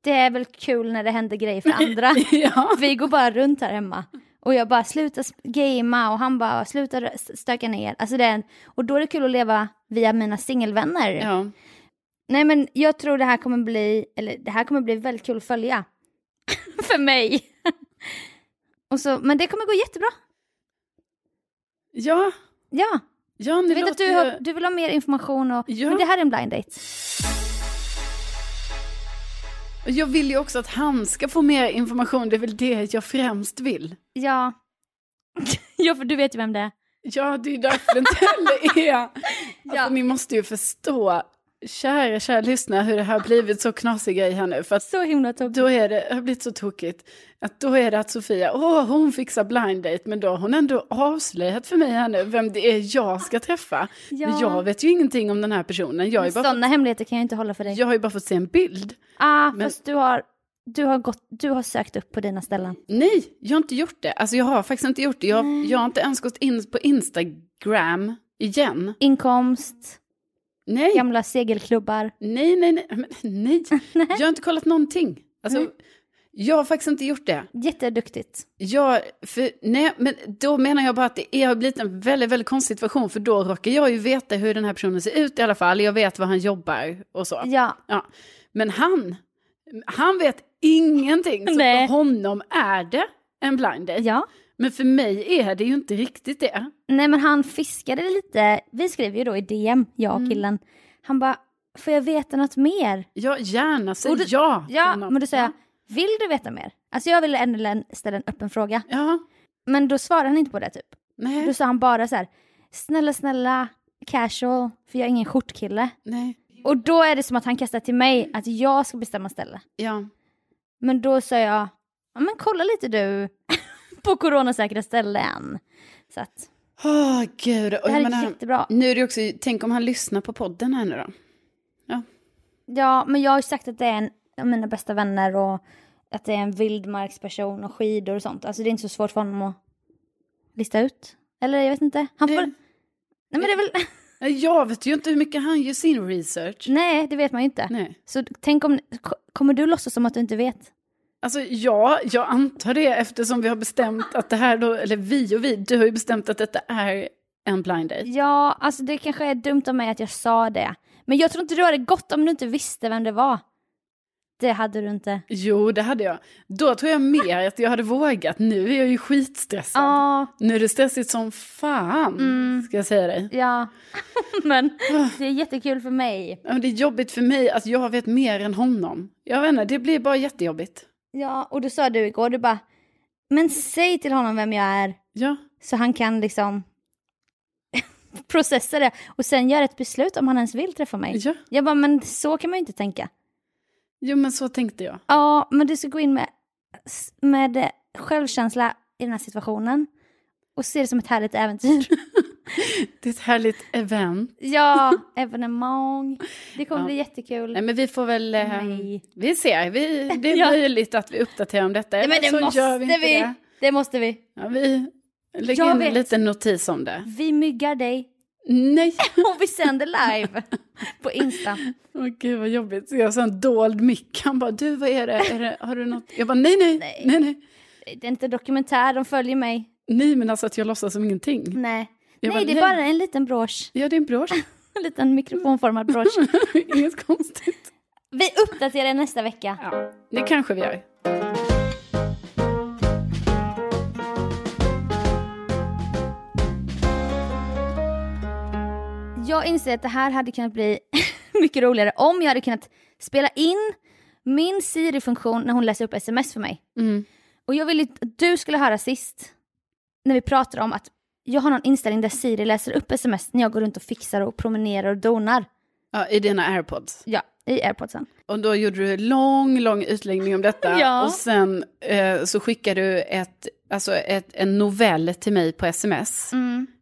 [SPEAKER 1] Det är väl kul när det händer grejer för andra.
[SPEAKER 2] ja.
[SPEAKER 1] Vi går bara runt här hemma. Och jag bara sluta sp- gamea och han bara sluta rö- stöka ner. Alltså det är en, och då är det kul att leva via mina singelvänner.
[SPEAKER 2] ja.
[SPEAKER 1] Nej men jag tror det här kommer bli, eller det här kommer bli väldigt kul att följa. för mig. och så, men det kommer gå jättebra.
[SPEAKER 2] Ja,
[SPEAKER 1] Ja,
[SPEAKER 2] ja nu
[SPEAKER 1] jag vet att
[SPEAKER 2] låter
[SPEAKER 1] du,
[SPEAKER 2] jag-
[SPEAKER 1] har, du vill ha mer information och
[SPEAKER 2] Ja.
[SPEAKER 1] men det här är en blind date.
[SPEAKER 2] Och Jag vill ju också att han ska få mer information, det är väl det jag främst vill.
[SPEAKER 1] Ja. ja, för du vet ju vem det är.
[SPEAKER 2] Ja, det är ju därför det inte heller är. Alltså,
[SPEAKER 1] Ja.
[SPEAKER 2] Ni måste ju förstå, kära, kära lyssnare, hur det här har blivit så knasig grej här nu. För att
[SPEAKER 1] Så himla tokigt.
[SPEAKER 2] då är det, det har blivit så tokigt, att då är det att Sofia, åh, hon fixar blind date, men då har hon ändå avslöjat för mig här nu vem det är jag ska träffa.
[SPEAKER 1] Ja.
[SPEAKER 2] Men jag vet ju ingenting om den här personen, jag har ju bara,
[SPEAKER 1] Sådana hemligheter kan jag inte hålla för dig.
[SPEAKER 2] fått, jag har ju bara fått se en bild.
[SPEAKER 1] Ah,
[SPEAKER 2] Men-
[SPEAKER 1] fast du har, du, har gått, du har sökt upp på dina ställen.
[SPEAKER 2] Nej, jag har inte gjort det. Alltså jag har faktiskt inte gjort det. Jag, jag har inte ens gått in på Instagram igen.
[SPEAKER 1] Inkomst,
[SPEAKER 2] Nej,
[SPEAKER 1] gamla segelklubbar.
[SPEAKER 2] nej, nej, nej. Men, nej. Jag har inte kollat någonting. Alltså,
[SPEAKER 1] Nej.
[SPEAKER 2] Jag har faktiskt inte gjort det.
[SPEAKER 1] Jätteduktigt.
[SPEAKER 2] Jag, för, nej, men då menar jag bara att det är, har blivit en väldigt, väldigt konstig situation. För då råkar jag ju veta hur den här personen ser ut i alla fall. Jag vet var han jobbar och så.
[SPEAKER 1] Ja,
[SPEAKER 2] Ja. Men han, han vet ingenting. Så
[SPEAKER 1] Nej.
[SPEAKER 2] för honom är det en blind date.
[SPEAKER 1] ja.
[SPEAKER 2] Men för mig är det ju inte riktigt det.
[SPEAKER 1] Nej men han fiskade lite, vi skrev ju då i DM, jag
[SPEAKER 2] Mm.
[SPEAKER 1] och killen. Han bara, får jag veta något mer?
[SPEAKER 2] Ja, gärna säg
[SPEAKER 1] Och du-
[SPEAKER 2] ja. till
[SPEAKER 1] Ja,
[SPEAKER 2] något.
[SPEAKER 1] men då säger jag, vill du veta mer? Alltså jag ville ändå ställa en öppen fråga.
[SPEAKER 2] Ja,
[SPEAKER 1] Men då svarade han inte på det typ. Då
[SPEAKER 2] nej,
[SPEAKER 1] sa han bara så här, snälla snälla, casual, för jag är ingen skjortkille.
[SPEAKER 2] nej,
[SPEAKER 1] Och då är det som att han kastar till mig att jag ska bestämma ställe.
[SPEAKER 2] ja.
[SPEAKER 1] Men då sa jag, ja, men kolla lite du på coronasäkra ställen. Så att
[SPEAKER 2] Åh, gud. Och
[SPEAKER 1] det här
[SPEAKER 2] jag
[SPEAKER 1] är
[SPEAKER 2] menar,
[SPEAKER 1] jättebra.
[SPEAKER 2] nu är det också, tänk om han lyssnar på podden här nu då.
[SPEAKER 1] Ja, men jag har ju sagt att det är en av mina bästa vänner och att det är en vildmarksperson och skidor och sånt. Alltså det är inte så svårt för honom att lista ut. Eller jag vet inte. Han får...
[SPEAKER 2] Nej.
[SPEAKER 1] Nej men det är väl...
[SPEAKER 2] Ja, Jag vet ju inte hur mycket han gör sin research.
[SPEAKER 1] Nej, det vet man ju inte.
[SPEAKER 2] Nej.
[SPEAKER 1] Så tänk om... ko- Kommer du låtsas som att du inte vet?
[SPEAKER 2] Alltså ja, jag antar det eftersom vi har bestämt att det här då, eller vi och vi, du har ju bestämt att detta är en blind date.
[SPEAKER 1] Ja, alltså det kanske är dumt av mig att jag sa det. Men jag tror inte du hade gått om du inte visste vem det var. Det hade du inte.
[SPEAKER 2] Jo, det hade jag. Då tror jag mer att jag hade vågat. Nu är jag ju skitstressad.
[SPEAKER 1] Ja,
[SPEAKER 2] Nu är det stressigt som fan, ska jag säga dig.
[SPEAKER 1] ja. men det är jättekul för mig.
[SPEAKER 2] Ja, men Det är jobbigt för mig att jag vet mer än honom. Jag vet inte, det blir bara jättejobbigt.
[SPEAKER 1] Ja, och då sa du igår, du bara, men säg till honom vem jag är.
[SPEAKER 2] Ja,
[SPEAKER 1] Så han kan liksom processa det och sen göra ett beslut om han ens vill träffa mig.
[SPEAKER 2] ja.
[SPEAKER 1] Jag bara, men så kan man ju inte tänka.
[SPEAKER 2] Jo, men så tänkte jag.
[SPEAKER 1] Ja, men du ska gå in med, med eh, självkänsla i den här situationen och se det som ett härligt äventyr.
[SPEAKER 2] Det är ett härligt event.
[SPEAKER 1] ja, evenemang. Det kommer
[SPEAKER 2] Ja.
[SPEAKER 1] bli jättekul.
[SPEAKER 2] Nej, men vi får väl... eh,
[SPEAKER 1] Nej.
[SPEAKER 2] vi ser. Vi, det är
[SPEAKER 1] Ja.
[SPEAKER 2] möjligt att vi uppdaterar om detta.
[SPEAKER 1] Nej, men
[SPEAKER 2] Eller
[SPEAKER 1] det
[SPEAKER 2] så
[SPEAKER 1] måste
[SPEAKER 2] gör
[SPEAKER 1] vi.
[SPEAKER 2] vi. Inte
[SPEAKER 1] Det.
[SPEAKER 2] det.
[SPEAKER 1] måste vi.
[SPEAKER 2] Ja, vi lägger
[SPEAKER 1] Jag
[SPEAKER 2] in
[SPEAKER 1] vet.
[SPEAKER 2] en liten notis om det.
[SPEAKER 1] Vi myggar dig
[SPEAKER 2] Nej,
[SPEAKER 1] och vi sänder live på Insta.
[SPEAKER 2] åh gud vad jobbigt. Så jag sa en dold mick. Han bara, du vad är det? Är det har du något? Jag bara, nej, nej,
[SPEAKER 1] Nej.
[SPEAKER 2] nej, nej, nej.
[SPEAKER 1] Det är inte dokumentär, de följer mig.
[SPEAKER 2] men alltså att jag låtsas som ingenting.
[SPEAKER 1] Nej,
[SPEAKER 2] Jag
[SPEAKER 1] Nej
[SPEAKER 2] bara,
[SPEAKER 1] det är
[SPEAKER 2] nej.
[SPEAKER 1] bara en liten brosch.
[SPEAKER 2] Ja, det är en brosch.
[SPEAKER 1] En liten mikrofonformad brosch.
[SPEAKER 2] Inget konstigt.
[SPEAKER 1] Vi uppdaterar nästa vecka.
[SPEAKER 2] Ja, det kanske vi gör.
[SPEAKER 1] Jag inser att det här hade kunnat bli mycket roligare om jag hade kunnat spela in min Siri-funktion när hon läser upp sms för mig.
[SPEAKER 2] Mm.
[SPEAKER 1] Och jag ville att du skulle höra sist, när vi pratade om att jag har någon inställning där Siri läser upp sms när jag går runt och fixar och promenerar och donar.
[SPEAKER 2] Ja, I dina airpods.
[SPEAKER 1] Ja, i airpodsen.
[SPEAKER 2] Och då gjorde du lång, lång utläggning om detta.
[SPEAKER 1] Ja.
[SPEAKER 2] Och sen eh, så skickade du ett, alltså ett, en novell till mig på
[SPEAKER 1] Mm.
[SPEAKER 2] sms.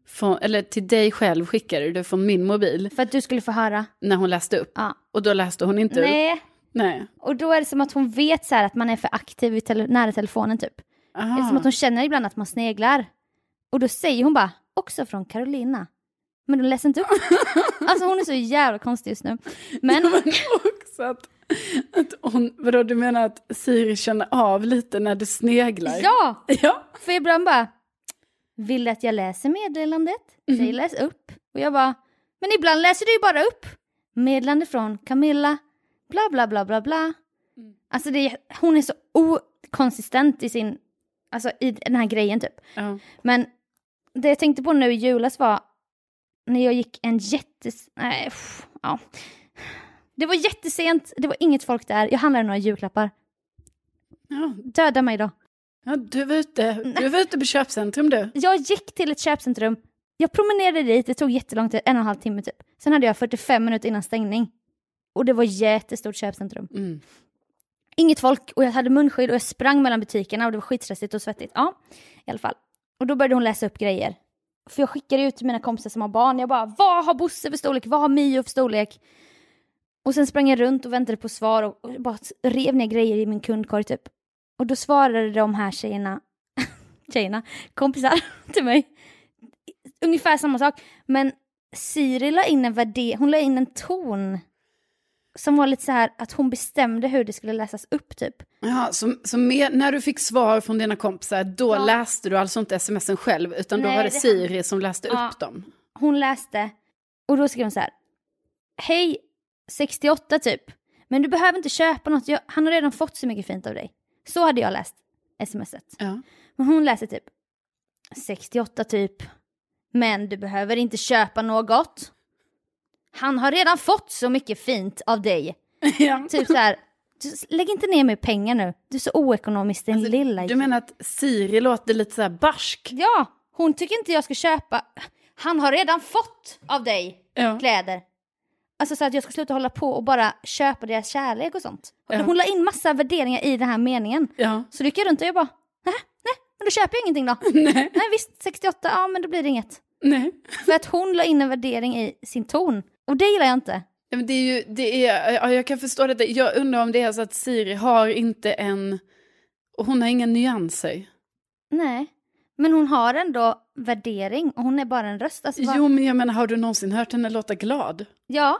[SPEAKER 2] Från, eller till dig själv skickade du från min mobil
[SPEAKER 1] För att du skulle få höra.
[SPEAKER 2] när hon läste upp.
[SPEAKER 1] Ja.
[SPEAKER 2] Och då läste hon inte upp.
[SPEAKER 1] Nej,
[SPEAKER 2] Nej.
[SPEAKER 1] och då är det som att hon vet så här att man är för aktiv i tele- nära telefonen typ.
[SPEAKER 2] Aha.
[SPEAKER 1] Eftersom att hon känner ibland att man sneglar. Och då säger hon bara, också från Carolina. Men hon läser inte upp. alltså hon är så jävla konstig just nu. Men
[SPEAKER 2] Men också att, att hon, vadå du menar att Siri känner av lite när du sneglar?
[SPEAKER 1] ja,
[SPEAKER 2] Ja.
[SPEAKER 1] för ibland bara, vill du att jag läser meddelandet? Säg läs upp. Och jag bara, men ibland läser du ju bara upp. Meddelande från Camilla, bla bla bla bla bla. Alltså det är, hon är så okonsistent i sin, alltså i den här grejen typ.
[SPEAKER 2] Ja.
[SPEAKER 1] Men det jag tänkte på nu i julas var när jag gick en jättes... Nej, pff, ja. Det var jättesent, det var inget folk där, jag handlade några julklappar.
[SPEAKER 2] Ja.
[SPEAKER 1] Döda mig då.
[SPEAKER 2] ja, du var ute, du var ute på köpcentrum du.
[SPEAKER 1] Jag gick till ett köpcentrum, jag promenerade dit, det tog jättelång tid, en och en halv timme typ. Sen hade jag 45 minuter innan stängning. Och det var jättestort köpcentrum.
[SPEAKER 2] Mm.
[SPEAKER 1] Inget folk och jag hade munskydd och jag sprang mellan butikerna och det var skitstressigt och svettigt. Ja, i alla fall. Och då började hon läsa upp grejer. För jag skickade ut till mina kompisar som har barn. Jag bara, vad har Bosse för storlek? Vad har Mio för storlek? Och sen sprang jag runt och väntade på svar och, och bara rev ner grejer i min kundkorg typ. Och då svarade de här tjejerna, tjejerna, kompisar till mig. Ungefär samma sak. Men Siri la in en värde, hon la in en ton. Som var lite så här att hon bestämde hur det skulle läsas upp typ.
[SPEAKER 2] Ja, så, så med, när du fick svar från dina kompisar, då
[SPEAKER 1] Ja.
[SPEAKER 2] läste du alltså inte smsen själv, utan
[SPEAKER 1] Nej,
[SPEAKER 2] då var det
[SPEAKER 1] det-
[SPEAKER 2] Siri som läste
[SPEAKER 1] Ja.
[SPEAKER 2] upp dem?
[SPEAKER 1] Hon läste och då skrev hon så här. Hej 68 typ. Men du behöver inte köpa något. Jag, han har redan fått så mycket fint av dig. Så hade jag läst smset.
[SPEAKER 2] Ja.
[SPEAKER 1] Men hon läser typ 68 typ. Men du behöver inte köpa något. Han har redan fått så mycket fint av dig.
[SPEAKER 2] ja.
[SPEAKER 1] Typ så här. "Du- Lägg inte ner mer pengar nu. Du är så oekonomisk din lilla
[SPEAKER 2] Du menar att Siri låter lite så här barsk?
[SPEAKER 1] Ja, hon tycker inte jag ska köpa. Han har redan fått av dig
[SPEAKER 2] Ja.
[SPEAKER 1] kläder. Alltså så att jag ska sluta hålla på och bara köpa deras kärlek och sånt. Och
[SPEAKER 2] Ja.
[SPEAKER 1] Hon la in massa värderingar i den här meningen.
[SPEAKER 2] Ja.
[SPEAKER 1] Så då gick jag runt och jag bara, nej, nej, men då köper jag ingenting då.
[SPEAKER 2] Nej.
[SPEAKER 1] Nej visst, 68, ja men då blir det inget.
[SPEAKER 2] Nej.
[SPEAKER 1] För att hon la in en värdering i sin ton. Och det gillar jag inte.
[SPEAKER 2] Ja, Men det är ju, det är, ja, jag kan förstå detta. Jag undrar om det är så att Siri har inte en... och Hon har inga nyanser.
[SPEAKER 1] Nej. Men hon har ändå värdering och hon är bara en röst. Alltså, vad-
[SPEAKER 2] Jo, men jag menar, har du någonsin hört henne låta glad?
[SPEAKER 1] Ja,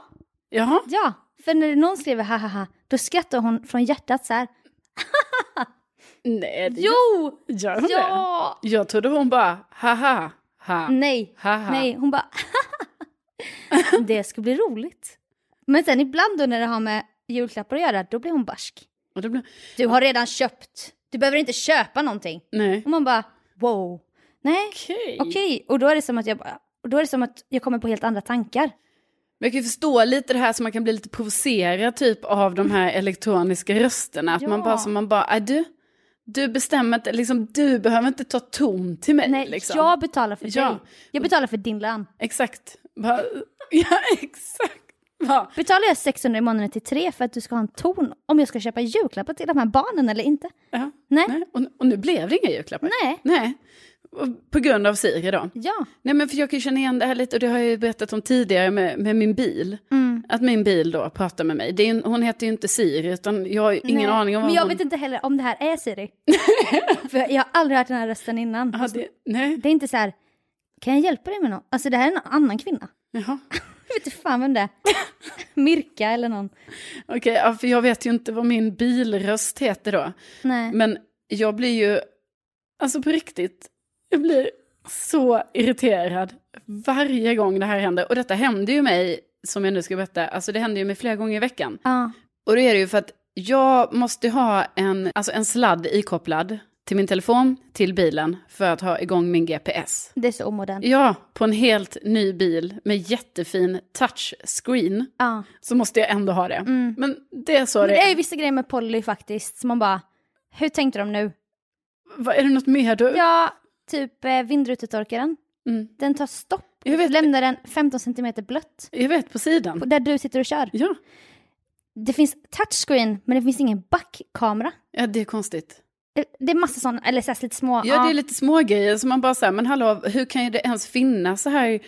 [SPEAKER 2] Ja.
[SPEAKER 1] ja. För när någon skriver ha ha ha, då skrattar hon från hjärtat så här.
[SPEAKER 2] Nej, det gör-
[SPEAKER 1] Jo!
[SPEAKER 2] gör hon det?
[SPEAKER 1] Ja!
[SPEAKER 2] Jag trodde hon bara, haha, ha,
[SPEAKER 1] Nej,
[SPEAKER 2] haha.
[SPEAKER 1] nej, hon bara Det ska bli roligt. Men sen ibland då när det har med julklappar att göra, då blir hon barsk.
[SPEAKER 2] Och då blev,
[SPEAKER 1] Du har redan köpt. Du behöver inte köpa någonting.
[SPEAKER 2] nej.
[SPEAKER 1] Och man bara wow. Nej,
[SPEAKER 2] Okej.
[SPEAKER 1] okej. Och då är det som att jag bara, och då är det som att jag kommer på helt andra tankar.
[SPEAKER 2] Men jag kan ju förstå lite det här som man kan bli lite provocerad typ av de här elektroniska rösterna. Att man
[SPEAKER 1] Ja.
[SPEAKER 2] bara, som man bara, "Äh, du, du bestämmer inte, liksom du behöver inte ta ton till mig.
[SPEAKER 1] Nej,
[SPEAKER 2] liksom.
[SPEAKER 1] jag betalar för
[SPEAKER 2] Ja.
[SPEAKER 1] dig. Jag betalar för din lön.
[SPEAKER 2] Exakt. Bara, ja, exakt. Bara,
[SPEAKER 1] Betalar jag 600 i månaden till tre för att du ska ha en ton om jag ska köpa julklappar till de här barnen eller inte?
[SPEAKER 2] ja,
[SPEAKER 1] Nej, nej.
[SPEAKER 2] nej. Och, och nu blev det inga julklappar. Nej. Och På grund av Siri då.
[SPEAKER 1] Ja.
[SPEAKER 2] Nej men för jag kan ju känna igen det här lite och det har jag ju berättat om tidigare med, med min bil.
[SPEAKER 1] Mm.
[SPEAKER 2] Att min bil då pratar med mig. Det är, ju en- hon heter ju inte Siri utan jag har ju ingen
[SPEAKER 1] nej.
[SPEAKER 2] aning om vad
[SPEAKER 1] Men jag
[SPEAKER 2] hon...
[SPEAKER 1] vet inte heller om det här är Siri. för jag har aldrig hört den här rösten innan. Alltså,
[SPEAKER 2] Ja, det, nej,
[SPEAKER 1] Det är inte så här, kan jag hjälpa dig med något? Alltså det här är en annan kvinna.
[SPEAKER 2] jaha.
[SPEAKER 1] Jag vet inte fan vem det är. Mirka eller någon.
[SPEAKER 2] Okej, ja, för jag vet ju inte vad min bilröst heter då.
[SPEAKER 1] Nej.
[SPEAKER 2] Men jag blir ju, alltså på riktigt, jag blir så irriterad varje gång det här händer. Och detta händer ju mig, som jag nu ska berätta, alltså det händer ju mig flera gånger i veckan.
[SPEAKER 1] Ja.
[SPEAKER 2] Och det är det ju för att jag måste ha en, alltså en sladd ikopplad till min telefon, till bilen, för att ha igång min GPS.
[SPEAKER 1] Det är så omodernt.
[SPEAKER 2] Ja, på en helt ny bil med jättefin touchscreen
[SPEAKER 1] Ja.
[SPEAKER 2] så måste jag ändå ha det.
[SPEAKER 1] Mm.
[SPEAKER 2] Men det är så
[SPEAKER 1] Men
[SPEAKER 2] det
[SPEAKER 1] det är
[SPEAKER 2] är.
[SPEAKER 1] ju vissa grejer med Polly faktiskt som man bara, hur tänkte de nu?
[SPEAKER 2] Vad- Är det något mer du?
[SPEAKER 1] Ja, typ eh, vindrutetorkaren.
[SPEAKER 2] Mm.
[SPEAKER 1] Den tar stopp.
[SPEAKER 2] Jag vet-
[SPEAKER 1] lämnar den 15 centimeter blött.
[SPEAKER 2] Jag vet, på sidan.
[SPEAKER 1] På- Där du sitter och kör.
[SPEAKER 2] Ja.
[SPEAKER 1] Det finns touchscreen, men det finns ingen backkamera.
[SPEAKER 2] ja, det är konstigt.
[SPEAKER 1] Eh, Det är massa sådana, eller så här, lite små.
[SPEAKER 2] Ja, det är lite små grejer som man bara säger, men hallå, hur kan ju det ens finnas så här?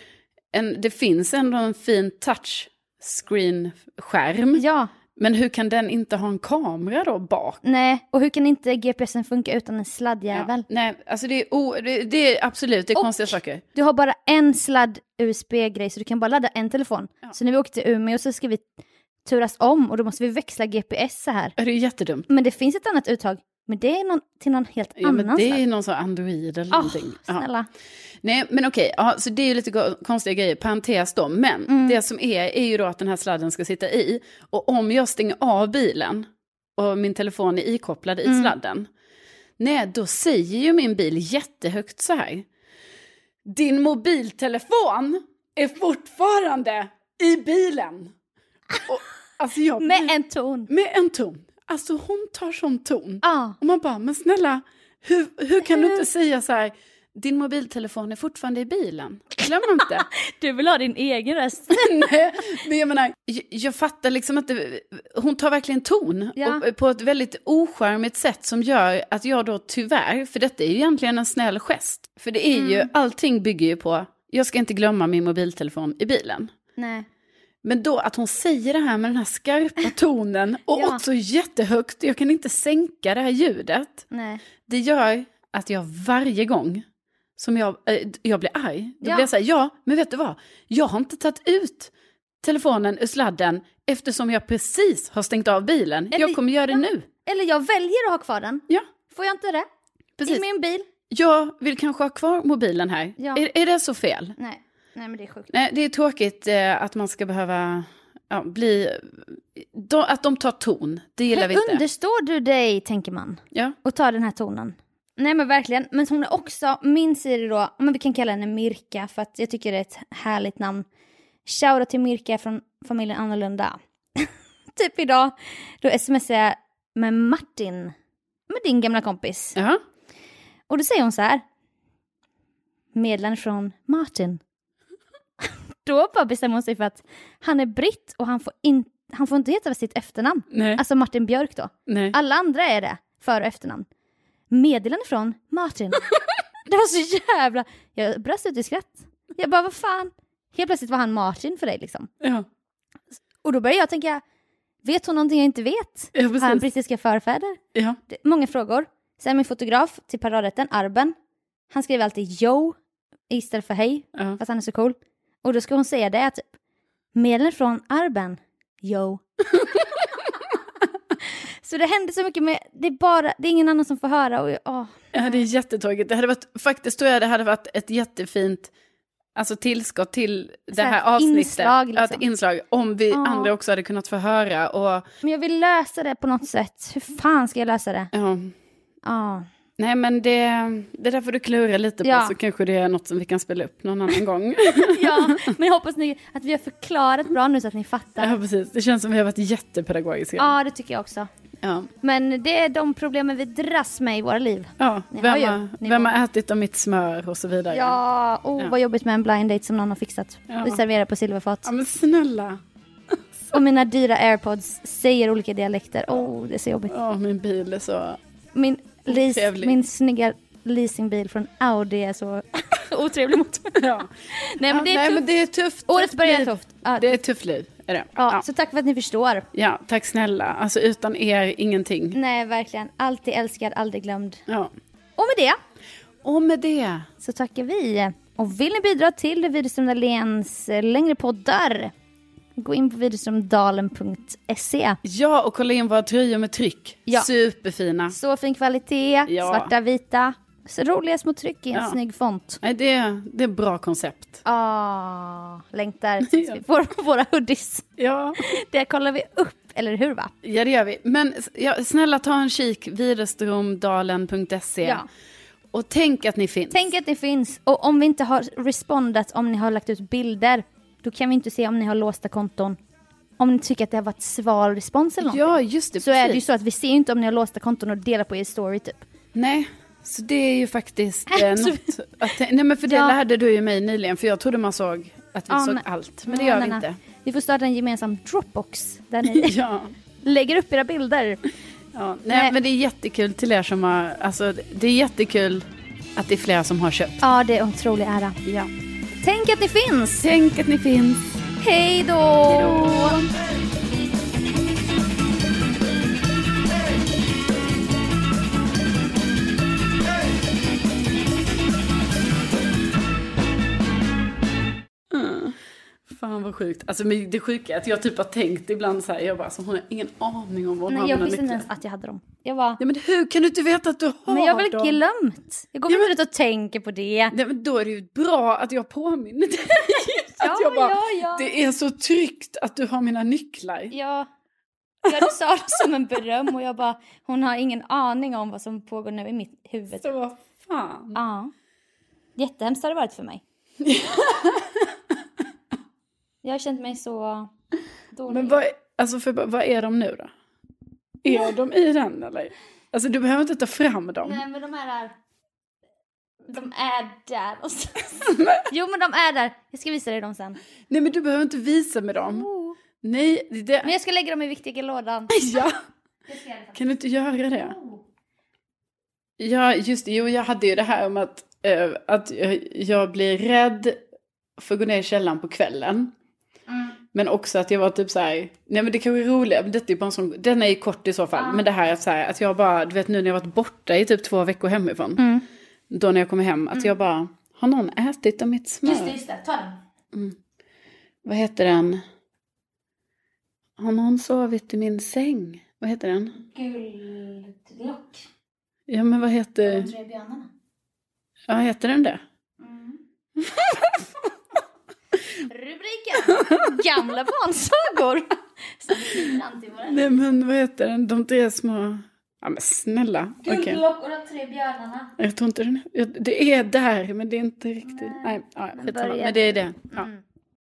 [SPEAKER 2] En, det finns ändå en fin touchscreen-skärm.
[SPEAKER 1] ja,
[SPEAKER 2] Men hur kan den inte ha en kamera då bak?
[SPEAKER 1] nej. Och hur kan inte GPSen funka utan en sladdjävel?
[SPEAKER 2] Nej, alltså det är, o, det, det är absolut, det är
[SPEAKER 1] Och-
[SPEAKER 2] konstiga saker.
[SPEAKER 1] Du har bara en sladd USB-grej så du kan bara ladda en telefon. Så när vi åkte till Umeå så ska vi turas om och då måste vi växla GPS så här.
[SPEAKER 2] Ja, Det är jättedumt.
[SPEAKER 1] Men det finns ett annat uttag, men det är någon, till någon helt
[SPEAKER 2] Ja, men
[SPEAKER 1] annan
[SPEAKER 2] det är
[SPEAKER 1] sladd.
[SPEAKER 2] ju någon sån Android eller
[SPEAKER 1] Ah,
[SPEAKER 2] någonting. Ja.
[SPEAKER 1] snälla.
[SPEAKER 2] Nej, men okej, ja, så det är ju lite go- konstiga grejer, parentes då. Men
[SPEAKER 1] Mm.
[SPEAKER 2] det som är, är ju då att den här sladden ska sitta i. Och om jag stänger av bilen och min telefon är ikopplad
[SPEAKER 1] Mm.
[SPEAKER 2] i sladden, nej, då säger ju min bil jättehögt så här. Din mobiltelefon är fortfarande i bilen. Och, alltså jag blir-
[SPEAKER 1] Med en ton.
[SPEAKER 2] med en ton. Alltså hon tar sån ton.
[SPEAKER 1] Ja,
[SPEAKER 2] Och man bara, men snälla, hur, hur kan du
[SPEAKER 1] Hur?
[SPEAKER 2] inte säga så här, din mobiltelefon är fortfarande i bilen? Glöm inte.
[SPEAKER 1] du vill ha din egen röst.
[SPEAKER 2] Nej, men jag menar, jag, jag fattar liksom att det, hon tar verkligen ton
[SPEAKER 1] Ja.
[SPEAKER 2] och, på ett väldigt oskärmigt sätt som gör att jag då tyvärr, för detta är ju egentligen en snäll gest, för det är
[SPEAKER 1] Mm.
[SPEAKER 2] ju, allting bygger ju på, jag ska inte glömma min mobiltelefon i bilen.
[SPEAKER 1] nej.
[SPEAKER 2] Men då att hon säger det här med den här skarpa tonen och
[SPEAKER 1] Ja.
[SPEAKER 2] också jättehögt, jag kan inte sänka det här ljudet.
[SPEAKER 1] Nej.
[SPEAKER 2] Det gör att jag varje gång som jag, eh, jag blir arg, då
[SPEAKER 1] Ja.
[SPEAKER 2] blir jag så här, ja, men vet du vad? Jag har inte tagit ut telefonen ur sladden eftersom jag precis har stängt av bilen.
[SPEAKER 1] Eller-
[SPEAKER 2] jag kommer göra det
[SPEAKER 1] ja.
[SPEAKER 2] nu.
[SPEAKER 1] Eller jag väljer att ha kvar den.
[SPEAKER 2] Ja,
[SPEAKER 1] Får jag inte det?
[SPEAKER 2] precis.
[SPEAKER 1] I min bil?
[SPEAKER 2] Jag vill kanske ha kvar mobilen här.
[SPEAKER 1] Ja.
[SPEAKER 2] Är, är det så fel?
[SPEAKER 1] Nej. Nej, men det är sjukt.
[SPEAKER 2] Nej, det är tråkigt eh, att man ska behöva ja, bli... De, att de tar ton, det gillar vi
[SPEAKER 1] Hur
[SPEAKER 2] inte.
[SPEAKER 1] understår du dig, tänker man?
[SPEAKER 2] Ja.
[SPEAKER 1] och ta den här tonen. Nej men verkligen, men hon är också, min Siri då, men vi kan kalla henne Mirka för att jag tycker det är ett härligt namn. Shoutout till Mirka från familjen Annorlunda. typ idag, då smsar jag med Martin, med din gamla kompis.
[SPEAKER 2] Ja.
[SPEAKER 1] Och då säger hon så här. Meddelande från Martin. då bara bestämmer hon sig för att han är britt och han får, in, han får inte heta sitt efternamn.
[SPEAKER 2] Nej.
[SPEAKER 1] Alltså Martin Björk då.
[SPEAKER 2] Nej.
[SPEAKER 1] Alla andra är det, för och efternamn. Meddelande från Martin. det var så jävla... Jag brast ut i skratt. Jag bara, vad fan? Helt plötsligt var han Martin för dig liksom.
[SPEAKER 2] Ja.
[SPEAKER 1] Och då började jag tänka, vet hon någonting jag inte vet?
[SPEAKER 2] Ja,
[SPEAKER 1] Har han
[SPEAKER 2] precis.
[SPEAKER 1] brittiska förfäder?
[SPEAKER 2] Ja.
[SPEAKER 1] Det, många frågor. Sen min fotograf till paradrätten, Arben, han skriver alltid yo istället för hej,
[SPEAKER 2] Ja.
[SPEAKER 1] för att han är så cool. Och då ska hon säga det, typ. Medlen från Arben, yo. så det händer så mycket med, det är bara, det är ingen annan som får höra och jag, åh.
[SPEAKER 2] ja, det är jättetråkigt. Det hade varit, faktiskt tror jag det hade varit ett jättefint alltså, tillskott till det
[SPEAKER 1] Så här
[SPEAKER 2] här avsnittet.
[SPEAKER 1] inslag,
[SPEAKER 2] Ja,
[SPEAKER 1] liksom.
[SPEAKER 2] ett inslag. Om vi
[SPEAKER 1] Ja.
[SPEAKER 2] andra också hade kunnat få höra. Och,
[SPEAKER 1] Men jag vill lösa det på något sätt. Hur fan ska jag lösa det?
[SPEAKER 2] ja.
[SPEAKER 1] Ja.
[SPEAKER 2] Nej, men det, det där får du klura lite
[SPEAKER 1] Ja.
[SPEAKER 2] på så kanske det är något som vi kan spela upp någon annan gång.
[SPEAKER 1] ja, men jag hoppas ni, att vi har förklarat bra nu så att ni fattar.
[SPEAKER 2] Ja, precis. Det känns som vi har varit jättepedagogiska.
[SPEAKER 1] Ja, det tycker jag också.
[SPEAKER 2] Ja.
[SPEAKER 1] Men det är de problemen vi dras med i våra liv.
[SPEAKER 2] Ja,
[SPEAKER 1] Ni
[SPEAKER 2] vem,
[SPEAKER 1] har ju
[SPEAKER 2] har,
[SPEAKER 1] nivå.
[SPEAKER 2] vem har ätit av mitt smör och så vidare.
[SPEAKER 1] Ja, oh,
[SPEAKER 2] Ja.
[SPEAKER 1] vad jobbigt med en blind date som någon har fixat.
[SPEAKER 2] Ja.
[SPEAKER 1] Vi serverar på silverfat.
[SPEAKER 2] ja men snälla.
[SPEAKER 1] Och mina dyra airpods säger olika dialekter. Oh, det är så jobbigt.
[SPEAKER 2] Ja, min bil är så...
[SPEAKER 1] Min, leas,
[SPEAKER 2] Otrevlig.
[SPEAKER 1] min snygga leasingbil från Audi är så otrevlig mot mig.
[SPEAKER 2] Ja.
[SPEAKER 1] Nej, men det är
[SPEAKER 2] Nej, men
[SPEAKER 1] tufft.
[SPEAKER 2] det är tufft.
[SPEAKER 1] Årets
[SPEAKER 2] tufft
[SPEAKER 1] början är
[SPEAKER 2] liv.
[SPEAKER 1] tufft. Ja,
[SPEAKER 2] Det är ett tufft liv, är det.
[SPEAKER 1] ja,
[SPEAKER 2] Ja.
[SPEAKER 1] Så tack för att ni förstår.
[SPEAKER 2] ja, tack snälla. Alltså utan er, ingenting.
[SPEAKER 1] Nej, verkligen. Alltid älskad, aldrig glömd.
[SPEAKER 2] Ja.
[SPEAKER 1] Och med det
[SPEAKER 2] Och med det.
[SPEAKER 1] så tackar vi. Och vill ni bidra till Widerström Dahléns eh, längre poddar? Gå in på widerströmdalen.se.
[SPEAKER 2] Ja, och kolla in våra tröjor med tryck.
[SPEAKER 1] Ja.
[SPEAKER 2] Superfina.
[SPEAKER 1] Så fin kvalitet,
[SPEAKER 2] Ja.
[SPEAKER 1] svarta, vita. Så roliga små tryck i en
[SPEAKER 2] Ja.
[SPEAKER 1] snygg font.
[SPEAKER 2] Nej, det, det är bra koncept.
[SPEAKER 1] Ah, längtar tills
[SPEAKER 2] Ja.
[SPEAKER 1] vi får våra hoodies.
[SPEAKER 2] Ja.
[SPEAKER 1] Det kollar vi upp, eller hur va?
[SPEAKER 2] ja, det gör vi. Men s- ja, snälla ta en kik, widerstromdalen.se.
[SPEAKER 1] Ja.
[SPEAKER 2] Och tänk att ni finns.
[SPEAKER 1] Tänk att ni finns, och om vi inte har respondat, om ni har lagt ut bilder, då kan vi inte se om ni har låsta konton. Om ni tycker att det har varit sval respons eller något.
[SPEAKER 2] Ja, just det.
[SPEAKER 1] så är det ju
[SPEAKER 2] precis.
[SPEAKER 1] så att vi ser ju inte om ni har låsta konton och delar på er story typ.
[SPEAKER 2] Nej, så det är ju faktiskt eh,
[SPEAKER 1] Så-
[SPEAKER 2] något att, tän- Nej men för det
[SPEAKER 1] Ja.
[SPEAKER 2] lärde du ju mig nyligen, för jag trodde man såg att vi
[SPEAKER 1] Ja,
[SPEAKER 2] såg
[SPEAKER 1] men-
[SPEAKER 2] allt. Men det gör
[SPEAKER 1] Ja,
[SPEAKER 2] vi
[SPEAKER 1] nej, nej.
[SPEAKER 2] inte.
[SPEAKER 1] Vi får starta en gemensam Dropbox där ni
[SPEAKER 2] Ja,
[SPEAKER 1] lägger upp era bilder.
[SPEAKER 2] ja. Nej,
[SPEAKER 1] Nej.
[SPEAKER 2] men det är jättekul till er som har, alltså det är jättekul att det är flera som har köpt.
[SPEAKER 1] Ja, det är en otrolig ära.
[SPEAKER 2] Ja.
[SPEAKER 1] Tänk att ni finns!
[SPEAKER 2] Tänk att ni finns.
[SPEAKER 1] Hej då!
[SPEAKER 2] Fan vad sjukt. Alltså men det sjuka är att jag typ har tänkt ibland så här, jag bara, så hon har ingen aning om var hon
[SPEAKER 1] Nej,
[SPEAKER 2] har
[SPEAKER 1] jag
[SPEAKER 2] mina
[SPEAKER 1] visste inte
[SPEAKER 2] nycklar.
[SPEAKER 1] ens att jag hade dem. Jag bara,
[SPEAKER 2] Ja men hur kan du inte veta att du har
[SPEAKER 1] men jag har väl
[SPEAKER 2] dem?
[SPEAKER 1] glömt? Jag går väl inte ut och tänker på det.
[SPEAKER 2] Nej, men då är det ju bra att jag påminner dig.
[SPEAKER 1] Ja,
[SPEAKER 2] att jag bara,
[SPEAKER 1] ja, ja.
[SPEAKER 2] Det är så tryggt att du har mina nycklar.
[SPEAKER 1] Ja. Ja, du sa det som en beröm och jag bara, hon har ingen aning om vad som pågår nu i mitt huvud.
[SPEAKER 2] Så vad fan.
[SPEAKER 1] Ja. Jättehemskt har det varit för mig. jag har känt mig så dålig.
[SPEAKER 2] Men vad, alltså för, vad är de nu då? Är de i den eller? Alltså du behöver inte ta fram dem.
[SPEAKER 1] Nej men de här är... De är där och så... Jo men de är där. Jag ska visa dig dem sen.
[SPEAKER 2] Nej men du behöver inte visa med dem.
[SPEAKER 1] Mm.
[SPEAKER 2] Nej, det-
[SPEAKER 1] Men
[SPEAKER 2] det...
[SPEAKER 1] jag ska lägga dem i viktiga lådan.
[SPEAKER 2] Ja, kan du inte göra det? Ja, just det. Jo, jag hade ju det här om att, eh, att jag, jag blir rädd för att gå ner i källaren på kvällen.
[SPEAKER 1] Mm.
[SPEAKER 2] Men också att jag var typ så här, nej men det kanske är roligare, men detta är ju bara en sån, den är ju kort i så fall. Men det här att så här, att jag bara, du vet nu när jag varit borta i typ två veckor hemifrån.
[SPEAKER 1] Mm.
[SPEAKER 2] Då när jag kommer hem, att jag bara, har någon ätit av mitt smör?
[SPEAKER 1] just det. Ta den.
[SPEAKER 2] Vad heter den? Har någon sovit i min säng? Vad heter den?
[SPEAKER 1] Guldlock.
[SPEAKER 2] Ja men vad heter,
[SPEAKER 1] tre björnarna.
[SPEAKER 2] ja heter den det?
[SPEAKER 1] Mm. Rubriken. Gamla barnsagor. Som vi till varandra.
[SPEAKER 2] Nej men vad heter den, de tre små, ja men snälla. Okej.
[SPEAKER 1] och de tre björnarna.
[SPEAKER 2] Jag tror inte den, jag- det är där men det är inte riktigt, nej, ja, skitsamma.
[SPEAKER 1] börja
[SPEAKER 2] men det är det. Ja.
[SPEAKER 1] Mm.